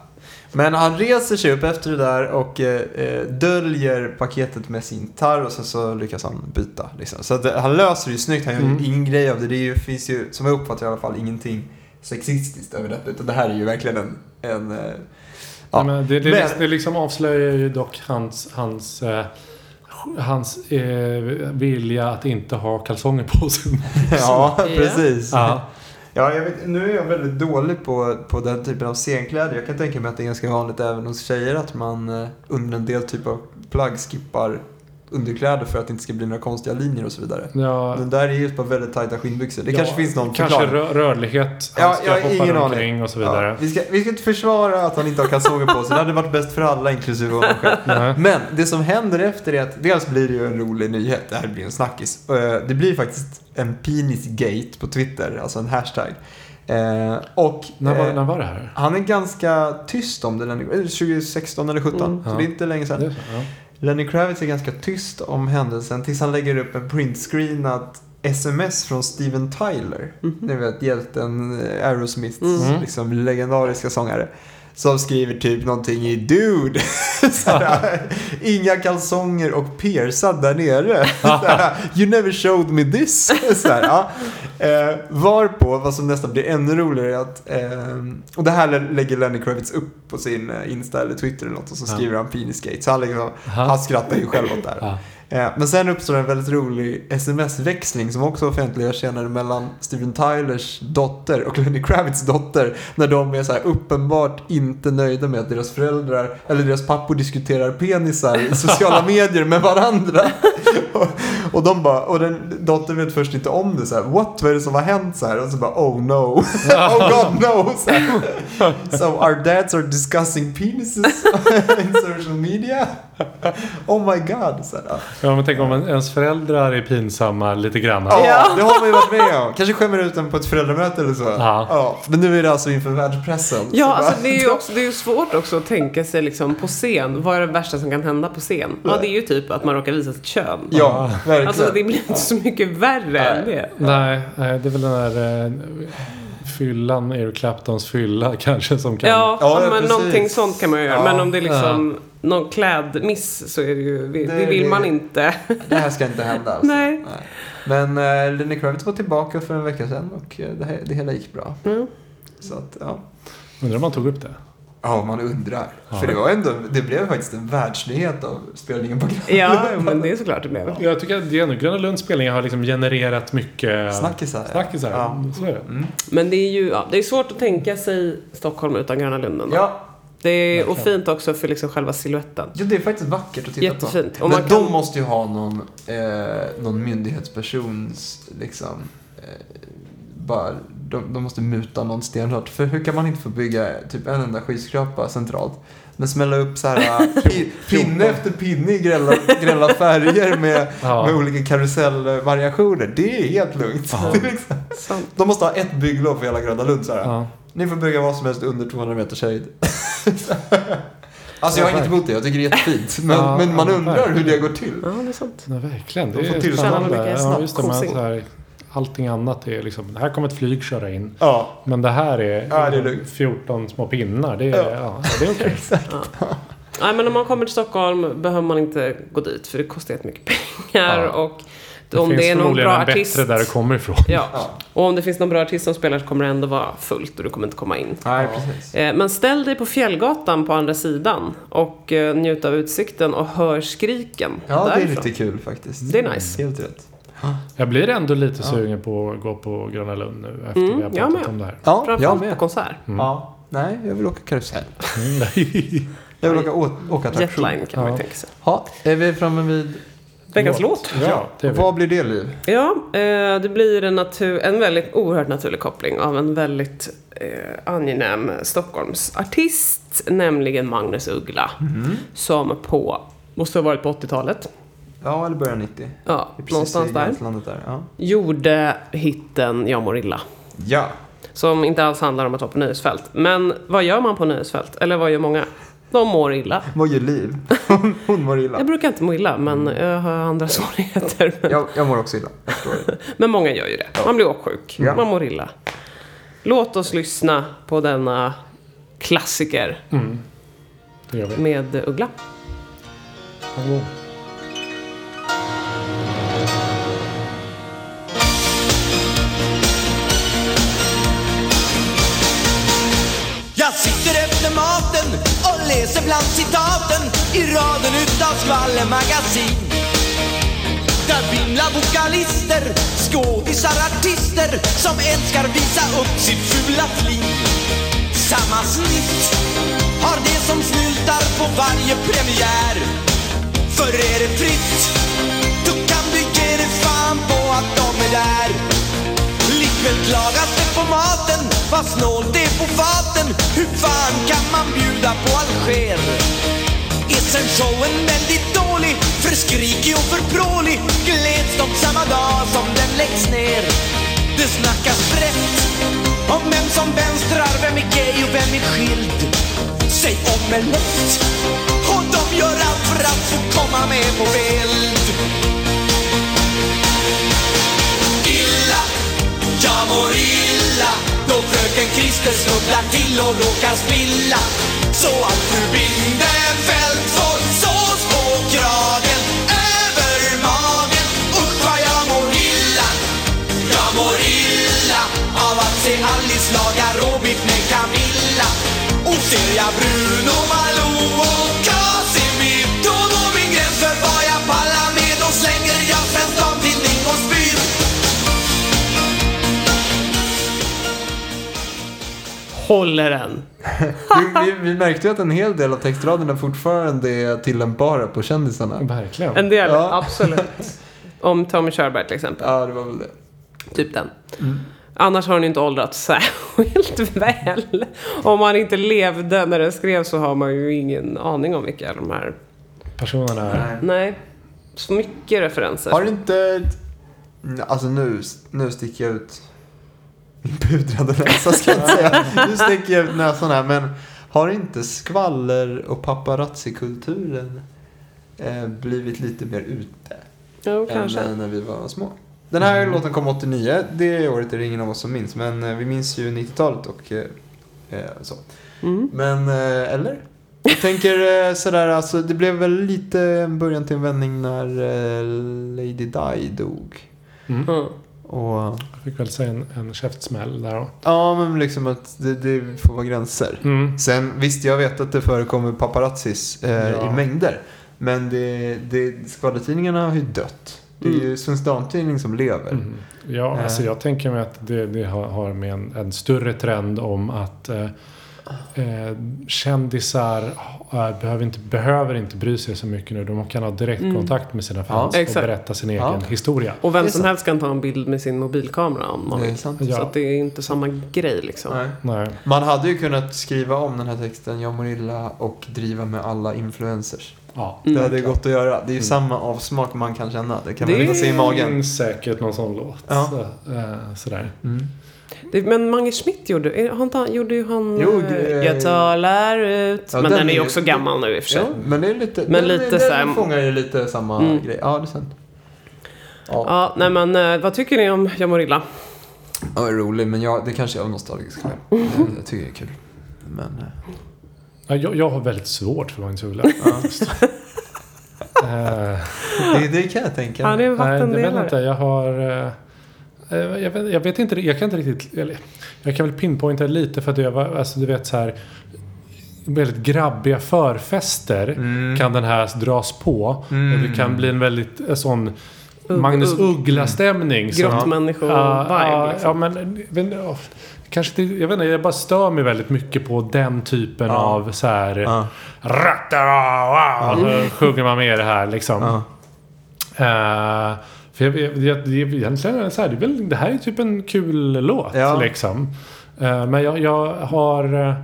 Speaker 3: men han reser sig upp efter det där och eh, eh, döljer paketet med sin gitarr och sen så lyckas han byta. Liksom. Så att, eh, han löser det ju snyggt. Han gör ju
Speaker 1: Mm.
Speaker 3: ingen grej av det. Det är ju, finns ju, som jag uppfattar i alla fall, ingenting sexistiskt över detta. Utan det här är ju verkligen en... en eh, ja.
Speaker 1: Nej, men det, det,
Speaker 3: Men-
Speaker 1: liksom- det liksom avslöjar ju dock hans, hans, eh, hans eh, vilja att inte ha kalsonger på sig.
Speaker 3: ja, precis.
Speaker 1: ja.
Speaker 3: Ja, jag vet, nu är jag väldigt dålig på, på den typen av scenkläder. Jag kan tänka mig att det är ganska vanligt även hos tjejer att man eh, under en del typ av plagg skippar underkläder för att det inte ska bli några konstiga linjer och så vidare.
Speaker 1: Ja,
Speaker 3: Den där är ju ett par väldigt tajta skinnbyxor. Det
Speaker 1: ja,
Speaker 3: kanske finns någon
Speaker 1: Kanske
Speaker 3: förklaring.
Speaker 1: rö- rörlighet.
Speaker 3: Ja,
Speaker 1: Han ska
Speaker 3: jag har
Speaker 1: hoppa
Speaker 3: ingen aning.
Speaker 1: omkring och så
Speaker 3: Ja,
Speaker 1: vidare.
Speaker 3: vi, ska, vi ska inte försvara att han inte har kalsonger på sig. Det hade varit bäst för alla, inklusive honom själv.
Speaker 1: Nej.
Speaker 3: Men det som händer efter är att dels blir det ju en rolig nyhet, det här blir en snackis. Eh, Det blir faktiskt en penisgate på Twitter, alltså en hashtag. Eh, Och
Speaker 1: När, var,
Speaker 3: eh,
Speaker 1: när var det här?
Speaker 3: han är ganska tyst om det, Lenny, eh, 2016 eller 17,
Speaker 2: Mm.
Speaker 3: så
Speaker 1: Ja.
Speaker 3: det är inte länge
Speaker 1: Det
Speaker 3: sedan.
Speaker 1: är så, ja.
Speaker 3: Lenny Kravitz är ganska tyst om händelsen tills han lägger upp en printscreenat sms från Steven Tyler.
Speaker 2: Mhm.
Speaker 3: Ni vet hjälten eh, Aerosmiths
Speaker 1: Mm.
Speaker 3: liksom, legendariska sångare. Som skriver typ någonting i Dude. Sådär, Inga kalsonger och piercad där nere. Sådär, you never showed me this. Sådär, ja. eh, varpå, vad som nästan blir ännu roligare är att, ehm, och det här lä- lägger Lenny Kravitz upp på sin eh, Insta eller Twitter eller något och så
Speaker 1: Ja.
Speaker 3: skriver han penisgate. Så han, liksom,
Speaker 1: Aha.
Speaker 3: han skrattar ju själv åt det här.
Speaker 1: Ja.
Speaker 3: Eh, Men sen uppstår en väldigt rolig sms-växling som också offentliggörs senare mellan Steven Tylers dotter och Lenny Kravitz dotter. När de är så här uppenbart inte nöjda med att deras föräldrar eller deras pappor diskuterar penisar i sociala medier med varandra. och, och de bara, och den dottern vet först inte om det så här, what, vad är det som har hänt så här? Och så bara, oh no, oh god no. Så här. so our dads are discussing penises in social media. Oh my god. Så här, ja.
Speaker 1: ja, men tänk om en- ens föräldrar är pinsamma lite grann.
Speaker 3: Ja,
Speaker 2: Ja.
Speaker 3: det har man ju varit med om. Kanske skämmer ut den på ett föräldramöte eller så.
Speaker 1: Ja.
Speaker 3: Men nu är det alltså inför världspressen. Så
Speaker 2: Ja,
Speaker 3: bara-
Speaker 2: alltså det är ju också, det är ju svårt också att tänka sig liksom på scen. Vad är det värsta som kan hända på scen? Ja, det är ju typ att man råkar visa sitt kön.
Speaker 3: Ja, verkligen.
Speaker 2: Alltså det blir inte så mycket värre än
Speaker 3: Nej.
Speaker 2: det.
Speaker 1: Nej, nej, det är väl den där eh, fyllan, Eric Claptons fylla kanske som kan...
Speaker 2: Ja,
Speaker 3: Ja,
Speaker 2: men
Speaker 3: precis.
Speaker 2: någonting sånt kan man ju göra.
Speaker 3: Ja.
Speaker 2: Men om det är liksom någon klädmiss så är det ju, det,
Speaker 3: Det-
Speaker 2: det vill
Speaker 3: det-
Speaker 2: man inte.
Speaker 3: Det här ska inte hända alltså.
Speaker 2: Nej.
Speaker 3: Men eh, Lenny Kravitz var tillbaka för en vecka sedan och eh, det, här, det hela gick bra.
Speaker 2: Mm.
Speaker 3: Så att, ja.
Speaker 1: Undrar om han tog upp det.
Speaker 3: Ja, man undrar.
Speaker 1: Ja.
Speaker 3: För det var ändå, det blev faktiskt en världsnyhet av spelningen på Gröna
Speaker 2: Ja, jo, men det är såklart det behöver.
Speaker 1: Jag tycker att det är ändå- Gröna Lunds spelningar har liksom genererat mycket
Speaker 3: Snackisar.
Speaker 1: snackisar.
Speaker 3: Ja.
Speaker 1: Så är det.
Speaker 2: Men det är ju ja, det är svårt att tänka sig Stockholm utan Gröna Lund ändå.
Speaker 3: Ja,
Speaker 2: Det är, och
Speaker 1: verkligen.
Speaker 2: fint också för liksom själva siluetten.
Speaker 3: Ja, det är faktiskt vackert att titta
Speaker 2: Jättefint.
Speaker 3: på.
Speaker 2: Och
Speaker 3: Men
Speaker 2: man
Speaker 3: de
Speaker 2: kan-
Speaker 3: måste ju ha någon, eh, någon myndighetspersons, liksom, eh, bara, de, de måste muta någon stenhårt. För hur kan man inte få bygga typ en enda skyskrapa centralt? Men smälla upp så här eh, pi- pinne efter pinne i grälla, grälla färger med,
Speaker 1: Ja.
Speaker 3: med olika karusellvariationer. Det är helt lugnt.
Speaker 1: Ja.
Speaker 3: Det är liksom-
Speaker 2: Sant.
Speaker 3: de måste ha ett bygglov för hela Gröna Lund. Så här.
Speaker 1: Ja.
Speaker 3: Ni får bygga vad som helst under 200 meters höjd. alltså jag
Speaker 1: Ja,
Speaker 3: har inget emot det, jag tycker det är jättefint. Men,
Speaker 1: Ja,
Speaker 3: men man
Speaker 1: ja,
Speaker 3: undrar
Speaker 1: verkligen.
Speaker 3: hur det går till.
Speaker 2: Ja, det är sant.
Speaker 1: Ja, verkligen.
Speaker 3: De får
Speaker 1: är
Speaker 3: tillstånd.
Speaker 1: spännande.
Speaker 2: Tjäna mycket
Speaker 1: Ja, just det, men
Speaker 2: snack-
Speaker 1: så här, allting annat är liksom, här kommer ett flyg köra in.
Speaker 3: Ja,
Speaker 1: Men det här är,
Speaker 3: Ja, det är lugnt.
Speaker 1: 14 små pinnar. Det är,
Speaker 3: Ja.
Speaker 1: ja. det är okej.
Speaker 2: Ja. Nej, men om man kommer till Stockholm behöver man inte gå dit för det kostar jättemycket pengar.
Speaker 1: Ja.
Speaker 2: Och
Speaker 1: Det
Speaker 2: om
Speaker 1: finns
Speaker 2: det är någon
Speaker 1: förmodligen
Speaker 2: bra
Speaker 1: en
Speaker 2: artist.
Speaker 1: bättre där du kommer ifrån.
Speaker 2: ja. Och om det finns någon bra artist som spelar så kommer det ändå vara fullt och du kommer inte komma in.
Speaker 3: Nej, precis.
Speaker 2: Eh, Men ställ dig på Fjällgatan på andra sidan och eh, njut av utsikten och hör skriken
Speaker 3: Ja, det är
Speaker 2: därifrån.
Speaker 3: lite kul faktiskt. Mm,
Speaker 2: Det är nice.
Speaker 3: Helt rätt.
Speaker 1: Jag blir ändå lite sugen på att gå på Gröna Lund nu efter
Speaker 2: Mm,
Speaker 1: vi har
Speaker 2: jag
Speaker 1: pratat
Speaker 2: med.
Speaker 1: om det här.
Speaker 3: Ja, jag
Speaker 2: Framförallt på
Speaker 3: med.
Speaker 2: konsert.
Speaker 3: Ja. Nej, jag vill åka karusell.
Speaker 1: Mm.
Speaker 3: Jag vill åka, å- åka attraktion.
Speaker 2: Jetline kan man
Speaker 1: Ja.
Speaker 2: tänka sig.
Speaker 3: Ja, är vi framme vid...
Speaker 2: Veckans låt.
Speaker 1: ja, det är vi.
Speaker 3: Vad blir det, Liv?
Speaker 2: Ja, eh, det blir en, natur, en väldigt oerhört naturlig koppling av en väldigt eh, angenäm Stockholmsartist, nämligen Magnus Uggla.
Speaker 3: Mhm.
Speaker 2: Som på, måste ha varit på 80-talet,
Speaker 3: Ja, eller början 90.
Speaker 2: ja,
Speaker 3: Det är precis
Speaker 2: någonstans
Speaker 3: i
Speaker 2: där,
Speaker 3: gränslandet där. Ja.
Speaker 2: gjorde hitten Jag mår illa.
Speaker 3: ja.
Speaker 2: Som inte alls handlar om att vara på nöjesfält. Men vad gör man på nöjesfält? Eller vad gör många? De mår illa.
Speaker 3: Mår ju Liv. Hon mår illa.
Speaker 2: Jag brukar inte må illa, men jag har andra svårigheter.
Speaker 3: Jag, jag mår också illa. Jag förstår det.
Speaker 2: Men många gör ju det. Man blir åksjuk.
Speaker 3: Ja.
Speaker 2: Man mår illa. Låt oss lyssna på denna klassiker
Speaker 3: Mm.
Speaker 1: Det gör vi.
Speaker 2: med Uggla.
Speaker 1: Hallå.
Speaker 4: Jag sitter efter maten och läser bland citaten i raden utav skvallermagasin. Där vimlar vokalister, skådisar, artister som älskar visa upp sitt fula flin. Samma snitt har de som snyltar på varje premiär. För är det fritt, då kan du ge dig fan på att de är där. Likväl klagas det på maten, vad snålt det är på faten. Hur fan kan man bjuda på Alger? Är sen showen väldigt dålig, för skrikig och för prålig, gläds de samma dag som den läggs ner. Det snackas brett om vem som vänstrar, vem är gay och vem är skild. Säg omelett, och de gör allt för att få komma med på bild. illa, jag mår illa Då fröken Krister snubblar till och råkar spilla Så att fru Bindefeld får sås på kragen Över magen, usch vad jag mår illa Jag mår illa av att se Alice laga råbiff med Camilla Och ser jag Bruno Malou och Casimir Då går min gräns för vad jag pallar med Då slänger jag svensk damtidning och spyr
Speaker 2: Håller den?
Speaker 3: Vi, vi, vi märkte ju att en hel del av textraderna fortfarande är tillämpbara på kändisarna.
Speaker 1: Verkligen.
Speaker 2: En del,
Speaker 3: Ja.
Speaker 2: absolut. Om Tommy Körberg till exempel.
Speaker 3: Ja, det var väl det.
Speaker 2: Typ den.
Speaker 3: Mm.
Speaker 2: Annars har den ju inte åldrats särskilt väl. Om man inte levde när den skrevs så har man ju ingen aning om vilka de här...
Speaker 1: Personerna är...
Speaker 2: Nej. Så mycket referenser.
Speaker 3: Har du inte... Alltså nu, nu sticker jag ut min pudrade näsa ska jag inte säga. Nu sticker jag ut näsan här. Men har inte skvaller och paparazzikulturen eh, blivit lite mer ute
Speaker 2: Jo,
Speaker 3: än
Speaker 2: kanske.
Speaker 3: eh, när vi var små? Den här låten kom 89. Det året är det ingen av oss som minns. Men eh, vi minns ju 90-talet och eh, eh, så.
Speaker 2: Mm.
Speaker 3: Men, eh, eller? Jag tänker eh, sådär, alltså det blev väl lite en början till en vändning när eh, Lady Di dog.
Speaker 2: Mm.
Speaker 3: Och,
Speaker 1: Jag fick väl säga en, en käftsmäll där då.
Speaker 3: ja men liksom att det, det får vara gränser.
Speaker 1: Mm.
Speaker 3: Sen visst, jag vet att det förekommer paparazzis eh,
Speaker 1: Ja.
Speaker 3: i mängder. Men det, det, skvallertidningarna har ju dött. Det är ju Svensk Damtidning som lever.
Speaker 1: Mm. Ja,
Speaker 3: Eh.
Speaker 1: alltså jag tänker mig att det, det har- har med en, en större trend om att eh, eh, kändisar eh, behöver inte, behöver inte bry sig så mycket nu. De kan ha direktkontakt med sina fans
Speaker 3: Mm. Ja,
Speaker 1: och
Speaker 2: exakt.
Speaker 1: berätta sin egen
Speaker 3: Ja.
Speaker 1: historia.
Speaker 2: Och vem
Speaker 3: Det är
Speaker 2: som
Speaker 3: sant.
Speaker 2: helst kan ta en bild med sin mobilkamera om man
Speaker 3: Det är
Speaker 2: vill.
Speaker 3: sant.
Speaker 2: Så
Speaker 1: Ja.
Speaker 2: att det är inte samma grej liksom.
Speaker 3: Nej.
Speaker 1: Nej.
Speaker 3: Man hade ju kunnat skriva om den här texten, jag mår illa och driva med alla influencers.
Speaker 1: Ja.
Speaker 2: Mm.
Speaker 3: Det hade gått att göra. Det är ju samma avsmak man kan känna. Det kan
Speaker 2: Det
Speaker 3: man liksom se i magen.
Speaker 1: finns säkert någon sån låt.
Speaker 3: Ja.
Speaker 1: Så, eh, sådär.
Speaker 2: Det, men Mange Schmidt gjorde, är- har inte han, gjorde ju han...
Speaker 3: Jo,
Speaker 2: eh,
Speaker 3: det-
Speaker 2: jag talar ut.
Speaker 3: Ja,
Speaker 2: men
Speaker 3: den
Speaker 2: den är ju
Speaker 3: är-
Speaker 2: också gammal nu i och för sig.
Speaker 3: Ja, men det är lite...
Speaker 2: Men lite
Speaker 3: den,
Speaker 2: så här-
Speaker 3: den fångar ju lite samma
Speaker 2: Mm.
Speaker 3: grej. Ja, det är sant. Ja,
Speaker 2: Ja, nej men eh, vad tycker ni om Jag mår illa? Mm.
Speaker 3: ja det är rolig, men jag, det kanske är av nostalgiska skäl. Jag, jag tycker det är kul. Men... eh,
Speaker 1: Ja, Jag, jag har väldigt svårt för Magnus Uggla. faktiskt. Eh,
Speaker 3: Det, det kan jag tänka
Speaker 2: Han är en
Speaker 1: Nej, jag vet inte.
Speaker 2: vattendelare.
Speaker 1: Jag har... eh, eh, Jag vet, jag vet inte, jag kan inte riktigt... Eller, jag kan väl pinpointa det lite för att jag var, alltså du vet så här... Väldigt grabbiga förfester
Speaker 3: Mm.
Speaker 1: kan den här dras på. Det kan bli en väldigt eh, sån Magnus
Speaker 2: ugg.
Speaker 1: Uggla-stämning. som-
Speaker 2: Grottmänniskor-vibe,
Speaker 1: Ja,
Speaker 2: liksom.
Speaker 1: ja, men, jag vet inte, ja, kanske inte, jag vet inte, jag bara stör mig väldigt mycket på den typen av så här...
Speaker 3: Ja. Mm.
Speaker 1: Ratta, wow, så sjunger man med det här liksom.
Speaker 3: Ja.
Speaker 1: Eh, för jag, jag, jag, det är egentligen är det så här, det, är väl, det här är typ en kul låt
Speaker 3: Ja.
Speaker 1: liksom. Eh, men jag, jag har eh,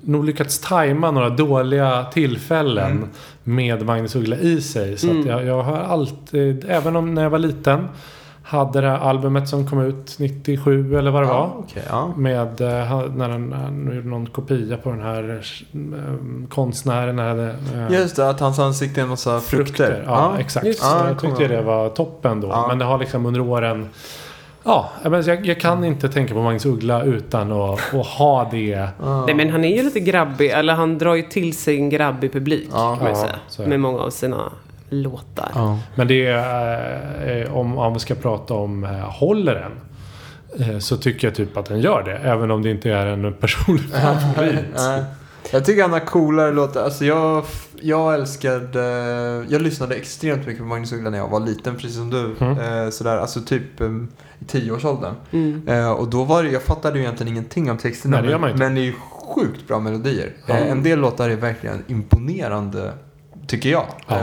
Speaker 1: nog lyckats tajma några dåliga tillfällen
Speaker 3: Mm.
Speaker 1: med Magnus Uggla i sig. Så att jag, jag har alltid, även om när jag var liten, hade det här albumet som kom ut 97 eller vad det var.
Speaker 3: Ja, okej. ja.
Speaker 1: Med eh, han- när han, han gjorde någon kopia på den här eh, konstnären. Den här, eh,
Speaker 3: Just det, att hans ansikte är en massa frukter.
Speaker 1: Ja, exakt.
Speaker 2: Just
Speaker 1: Så
Speaker 3: det. Ja,
Speaker 1: jag tyckte
Speaker 3: kommer
Speaker 1: det var toppen då.
Speaker 3: Ja.
Speaker 1: Men det har liksom under åren... Ja, men jag, jag kan inte tänka på Magnus Uggla utan att, att ha det.
Speaker 2: Nej, men han är ju lite grabbig. Eller han drar ju till sig en grabbig publik.
Speaker 3: Ja.
Speaker 2: kan man ju
Speaker 1: Ja,
Speaker 2: säga,
Speaker 1: så är det.
Speaker 2: med många av sina låtar.
Speaker 3: Ja.
Speaker 1: Men det är... eh, Om, om vi ska prata om eh, håller den. eh, Så tycker jag typ att den gör det. Även om det inte är en personlig favorit.
Speaker 3: Nej. Jag tycker han har coolare låtar. Alltså jag, jag älskade... Jag lyssnade extremt mycket på Magnus Uggla när jag var liten, precis som du.
Speaker 1: Mm.
Speaker 3: Eh, sådär, alltså typ eh, i tioårsåldern. Eh, och då var det, jag fattade ju egentligen ingenting om texterna.
Speaker 1: Nej, det gör man
Speaker 3: men,
Speaker 1: inte.
Speaker 3: men det är ju sjukt bra melodier. Eh, en del låtar är verkligen imponerande, tycker jag.
Speaker 1: Ja.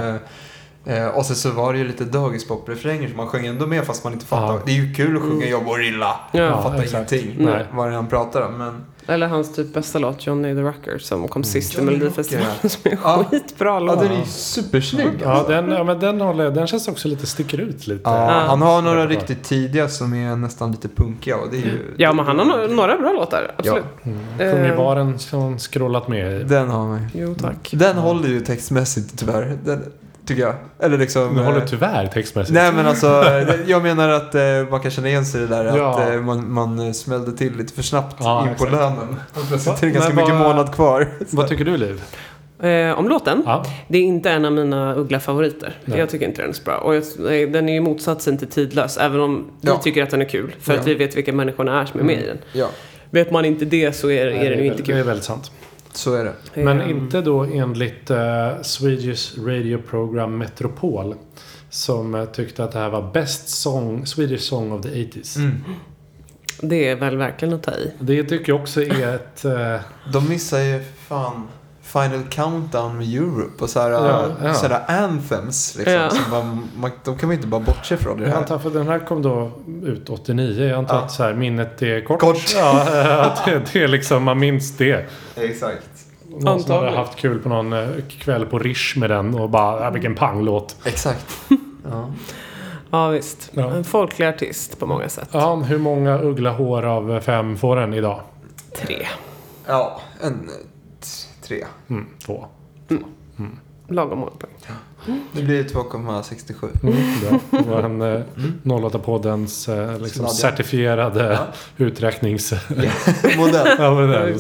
Speaker 3: Eh, eh, och sen så var det ju lite dagispoprefränger som man sjöng ändå med fast man inte fattade.
Speaker 1: Ja.
Speaker 3: Det är ju kul att sjunga Jag mår illa.
Speaker 2: Ja,
Speaker 3: man fattar
Speaker 1: exakt. Mm.
Speaker 3: ingenting
Speaker 1: Nej.
Speaker 3: vad det är han pratar om. Men
Speaker 2: Eller hans typ bästa låt, Johnny the Rocker, som kom sist i
Speaker 3: Johnny Rocker.
Speaker 2: Melodifestivalen. Som är en
Speaker 3: Ja.
Speaker 2: skitbra
Speaker 3: Ja,
Speaker 2: låt.
Speaker 3: den är ju supersnygg.
Speaker 1: Ja,
Speaker 3: alltså.
Speaker 1: den, ja, men den, håller, den känns också lite, sticker ut lite.
Speaker 3: Ja, han har några
Speaker 1: Ja.
Speaker 3: riktigt tidiga som är nästan lite punkiga och det är ju...
Speaker 2: Ja, men han har no- några bra låtar. Absolut.
Speaker 1: Sjunger baren Mm. som scrollat med i.
Speaker 3: Den har man ju.
Speaker 2: Jo, tack.
Speaker 3: Den håller ju textmässigt tyvärr. Den, tycker jag. Eller liksom...
Speaker 1: Den håller
Speaker 3: eh,
Speaker 1: tyvärr textmässigt.
Speaker 3: Nej men alltså, eh, jag menar att eh, man kan känna igen sig i det där
Speaker 1: Ja.
Speaker 3: att eh, man, man eh, smällde till lite för snabbt
Speaker 1: Ja,
Speaker 3: in på
Speaker 1: exakt.
Speaker 3: lönen. Och plötsligt är det
Speaker 1: Men
Speaker 3: ganska
Speaker 1: vad-
Speaker 3: mycket månad kvar.
Speaker 1: Vad tycker du Liv?
Speaker 2: Eh, om låten?
Speaker 1: Ja.
Speaker 2: Det är inte en av mina Uggla-favoriter. Jag tycker inte den är så bra. Och jag, eh, den är ju motsatsen till tidlös, även om
Speaker 3: Ja. Mm.
Speaker 2: vi tycker att den är kul. För att vi vet vilka människorna är som är med i den.
Speaker 3: Ja,
Speaker 2: Vet man inte det så är, är den ju inte
Speaker 1: Det är
Speaker 2: kul.
Speaker 1: väldigt sant.
Speaker 3: så är det.
Speaker 1: Men
Speaker 2: Eh,
Speaker 1: inte då enligt eh, Swedish Radio Program Metropol. Som eh, tyckte att det här var best song, Swedish song of the 80s.
Speaker 2: Det är väl verkligen att ta i.
Speaker 1: Det tycker jag också är ett... Eh,
Speaker 3: De missar ju fan Final Countdown med Europe och sådär,
Speaker 1: Ja, ja.
Speaker 3: sådär anthems liksom.
Speaker 2: Ja.
Speaker 3: Som man, man, de kan man inte bara bortse från i det
Speaker 1: jag
Speaker 3: här.
Speaker 1: antar, för den här kom då ut 89. Jag antar
Speaker 3: Ja.
Speaker 1: att så här, minnet är kort.
Speaker 3: Kort.
Speaker 1: Ja, eh, att det, det är liksom, man minns det.
Speaker 3: Exakt.
Speaker 1: Någon som hade
Speaker 2: Antagligen.
Speaker 1: haft kul på någon eh, kväll på Rish med den och bara, "Ah, vilken panglåt.
Speaker 3: Exakt. Ja.
Speaker 2: Ja, visst.
Speaker 1: Ja.
Speaker 2: En folklig artist på många sätt.
Speaker 1: Ja, hur många uggla hår av eh, fem får den idag?
Speaker 2: Tre.
Speaker 3: Ja, en eh, t- tre.
Speaker 1: Mm, två.
Speaker 2: Lagom många poäng.
Speaker 3: Det blir 2,67.
Speaker 1: Mm, det var en eh,
Speaker 3: Mm.
Speaker 1: 08-poddens eh, liksom
Speaker 3: Sladdja.
Speaker 1: certifierade uträknings...
Speaker 3: Modell.
Speaker 1: ja, men den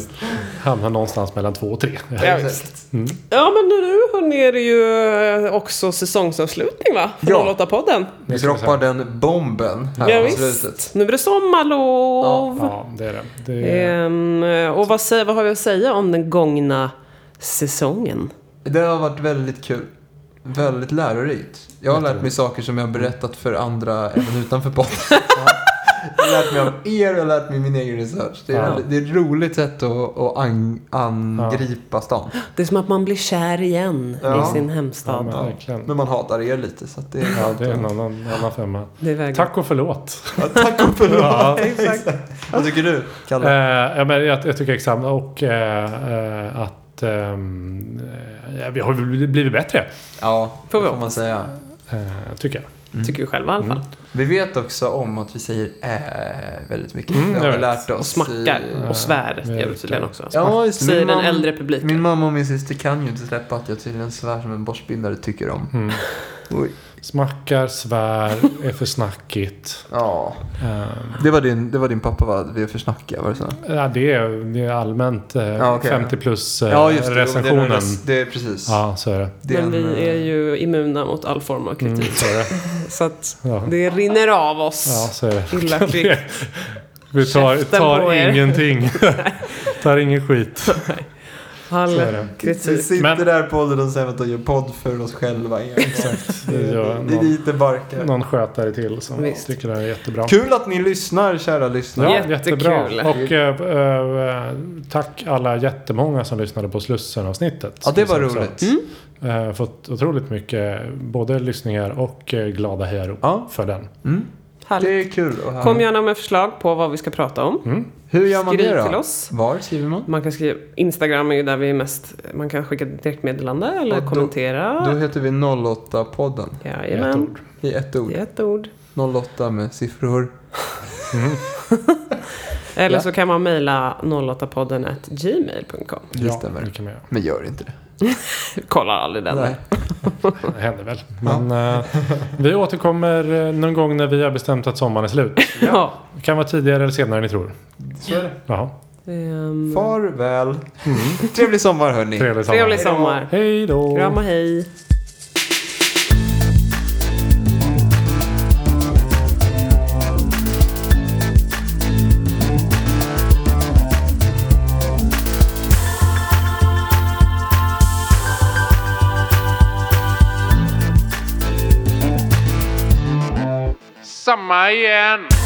Speaker 1: hamnar någonstans mellan två och tre.
Speaker 2: Ja, visst.
Speaker 3: Mm.
Speaker 2: ja men nu hörni är det ju eh, också säsongsavslutning va? För
Speaker 3: Ja.
Speaker 2: 08-podden.
Speaker 3: Vi droppar den bomben här
Speaker 2: Ja,
Speaker 3: på slutet.
Speaker 2: visst. Nu blir det sommarlov.
Speaker 1: Ja, det är det. det är,
Speaker 2: Ehm, och vad, säger, vad har vi att säga om den gångna säsongen?
Speaker 3: Det har varit väldigt kul. Väldigt lärorikt. Jag har lärt mig saker som jag
Speaker 1: Mm.
Speaker 3: har berättat för andra även utanför podden. Jag har lärt mig av er och lärt mig min egen research. Det är,
Speaker 1: Ja.
Speaker 3: det är ett roligt sätt att, att an, angripa stan.
Speaker 2: Det är som att man blir kär igen
Speaker 3: Ja.
Speaker 2: i sin
Speaker 1: ja,
Speaker 2: hemstad.
Speaker 1: men, verkligen.
Speaker 3: Men man hatar er lite så att det är...
Speaker 1: Ja, det är en annan, en annan femma.
Speaker 2: Det är vägen.
Speaker 1: Tack och förlåt.
Speaker 3: Ja, Tack och förlåt.
Speaker 1: Ja.
Speaker 3: Exakt. Vad tycker du,
Speaker 1: Eh,
Speaker 3: Kalle?
Speaker 1: ja, men jag, jag tycker exakt och eh, eh, att ehm, eh, vi har väl blivit bättre.
Speaker 3: Ja, det
Speaker 2: Får vi
Speaker 3: får
Speaker 2: hoppas.
Speaker 3: man säga.
Speaker 1: Eh, tycker jag.
Speaker 2: Tycker vi själva i
Speaker 1: Mm.
Speaker 2: alla fall.
Speaker 3: Vi vet också om att vi säger äh väldigt mycket.
Speaker 1: Mm,
Speaker 3: det har
Speaker 1: jag
Speaker 3: vi
Speaker 1: vet.
Speaker 3: lärt oss. eh,
Speaker 2: Och smackar
Speaker 3: i-
Speaker 2: och svär
Speaker 1: Ja,
Speaker 2: gör vi tydligen också.
Speaker 3: Ja, just det.
Speaker 2: Säger
Speaker 3: Min
Speaker 2: den
Speaker 3: mam-
Speaker 2: äldre publiken.
Speaker 1: Mm.
Speaker 3: Min mamma och min syster kan ju inte släppa att jag tydligen svär som en borstbindare tycker om. Oj.
Speaker 1: Smackar, svär, är för snackigt.
Speaker 3: Ja.
Speaker 1: Ehm,
Speaker 3: Det var din, det var din pappa va? Vi är för snackiga, var det så?
Speaker 1: ja, det, är, det är allmänt eh,
Speaker 3: Ja, okej.
Speaker 1: 50 plus eh,
Speaker 3: Ja, just det. Det är,
Speaker 1: recensionen.
Speaker 3: nog rec- det är precis.
Speaker 1: Ja, så är det. Mm,
Speaker 3: Det är
Speaker 2: Men
Speaker 3: en,
Speaker 2: vi
Speaker 3: eh,
Speaker 2: är ju immuna mot all form av kritik.
Speaker 1: Så är det.
Speaker 2: Så att
Speaker 1: Ja.
Speaker 2: det rinner av oss.
Speaker 1: Ja, så är det.
Speaker 2: Illa kvickt.
Speaker 1: Vi tar,
Speaker 2: Käften på
Speaker 1: tar
Speaker 2: er.
Speaker 1: ingenting. tar ingen skit.
Speaker 2: All
Speaker 1: Så är det.
Speaker 3: Vi
Speaker 2: kritik.
Speaker 3: sitter
Speaker 1: Men-
Speaker 3: där på ålderdomshemmet och gör podd för oss själva. igen.
Speaker 1: Exakt.
Speaker 3: Det
Speaker 1: Det gör
Speaker 3: är det är
Speaker 1: någon,
Speaker 3: dit det barkar.
Speaker 1: någon skötare till som
Speaker 2: Visst.
Speaker 1: tycker det här är jättebra.
Speaker 3: Kul att ni lyssnar, kära lyssnare.
Speaker 1: Ja,
Speaker 2: Jättekul.
Speaker 1: jättebra. Och eh, eh, tack alla jättemånga som lyssnade på Slussen-avsnittet.
Speaker 3: Ja, det var
Speaker 1: Som sagt,
Speaker 3: roligt.
Speaker 1: Eh, fått otroligt mycket både lyssningar och eh, glada hejarop
Speaker 3: Ja.
Speaker 1: för den.
Speaker 2: Härligt.
Speaker 3: Det är kul att höra.
Speaker 2: Kom gärna med förslag på vad vi ska prata om.
Speaker 3: Hur gör man
Speaker 2: Skriv
Speaker 3: det då?
Speaker 2: till oss.
Speaker 3: Var skriver man?
Speaker 2: Man kan skriva, Instagram är ju där vi är mest, man kan skicka ett direktmeddelande eller
Speaker 3: Och då- Då
Speaker 2: kommentera.
Speaker 3: heter vi 08-podden.
Speaker 1: Ett
Speaker 2: Jajamän,
Speaker 1: ord.
Speaker 3: I ett
Speaker 2: det
Speaker 3: ord.
Speaker 2: är ett ord.
Speaker 3: 08 med siffror.
Speaker 2: Eller
Speaker 3: Ja.
Speaker 2: så kan man mejla 08podden at gmail.com.
Speaker 3: Det stämmer.
Speaker 1: det kan man göra.
Speaker 3: Men gör inte det.
Speaker 2: Kollar aldrig den.
Speaker 3: Nej.
Speaker 1: Det händer väl. Men eh, vi återkommer eh, någon gång när vi har bestämt att sommaren är slut.
Speaker 2: Ja.
Speaker 1: Det kan vara tidigare eller senare än ni tror.
Speaker 3: Så är det.
Speaker 1: Jaha,
Speaker 2: Ehm,
Speaker 3: Farväl. Trevlig sommar hörni.
Speaker 1: trevlig sommar.
Speaker 2: Trevlig sommar.
Speaker 1: Hej då.
Speaker 2: Kram och hej.
Speaker 5: Samma igen.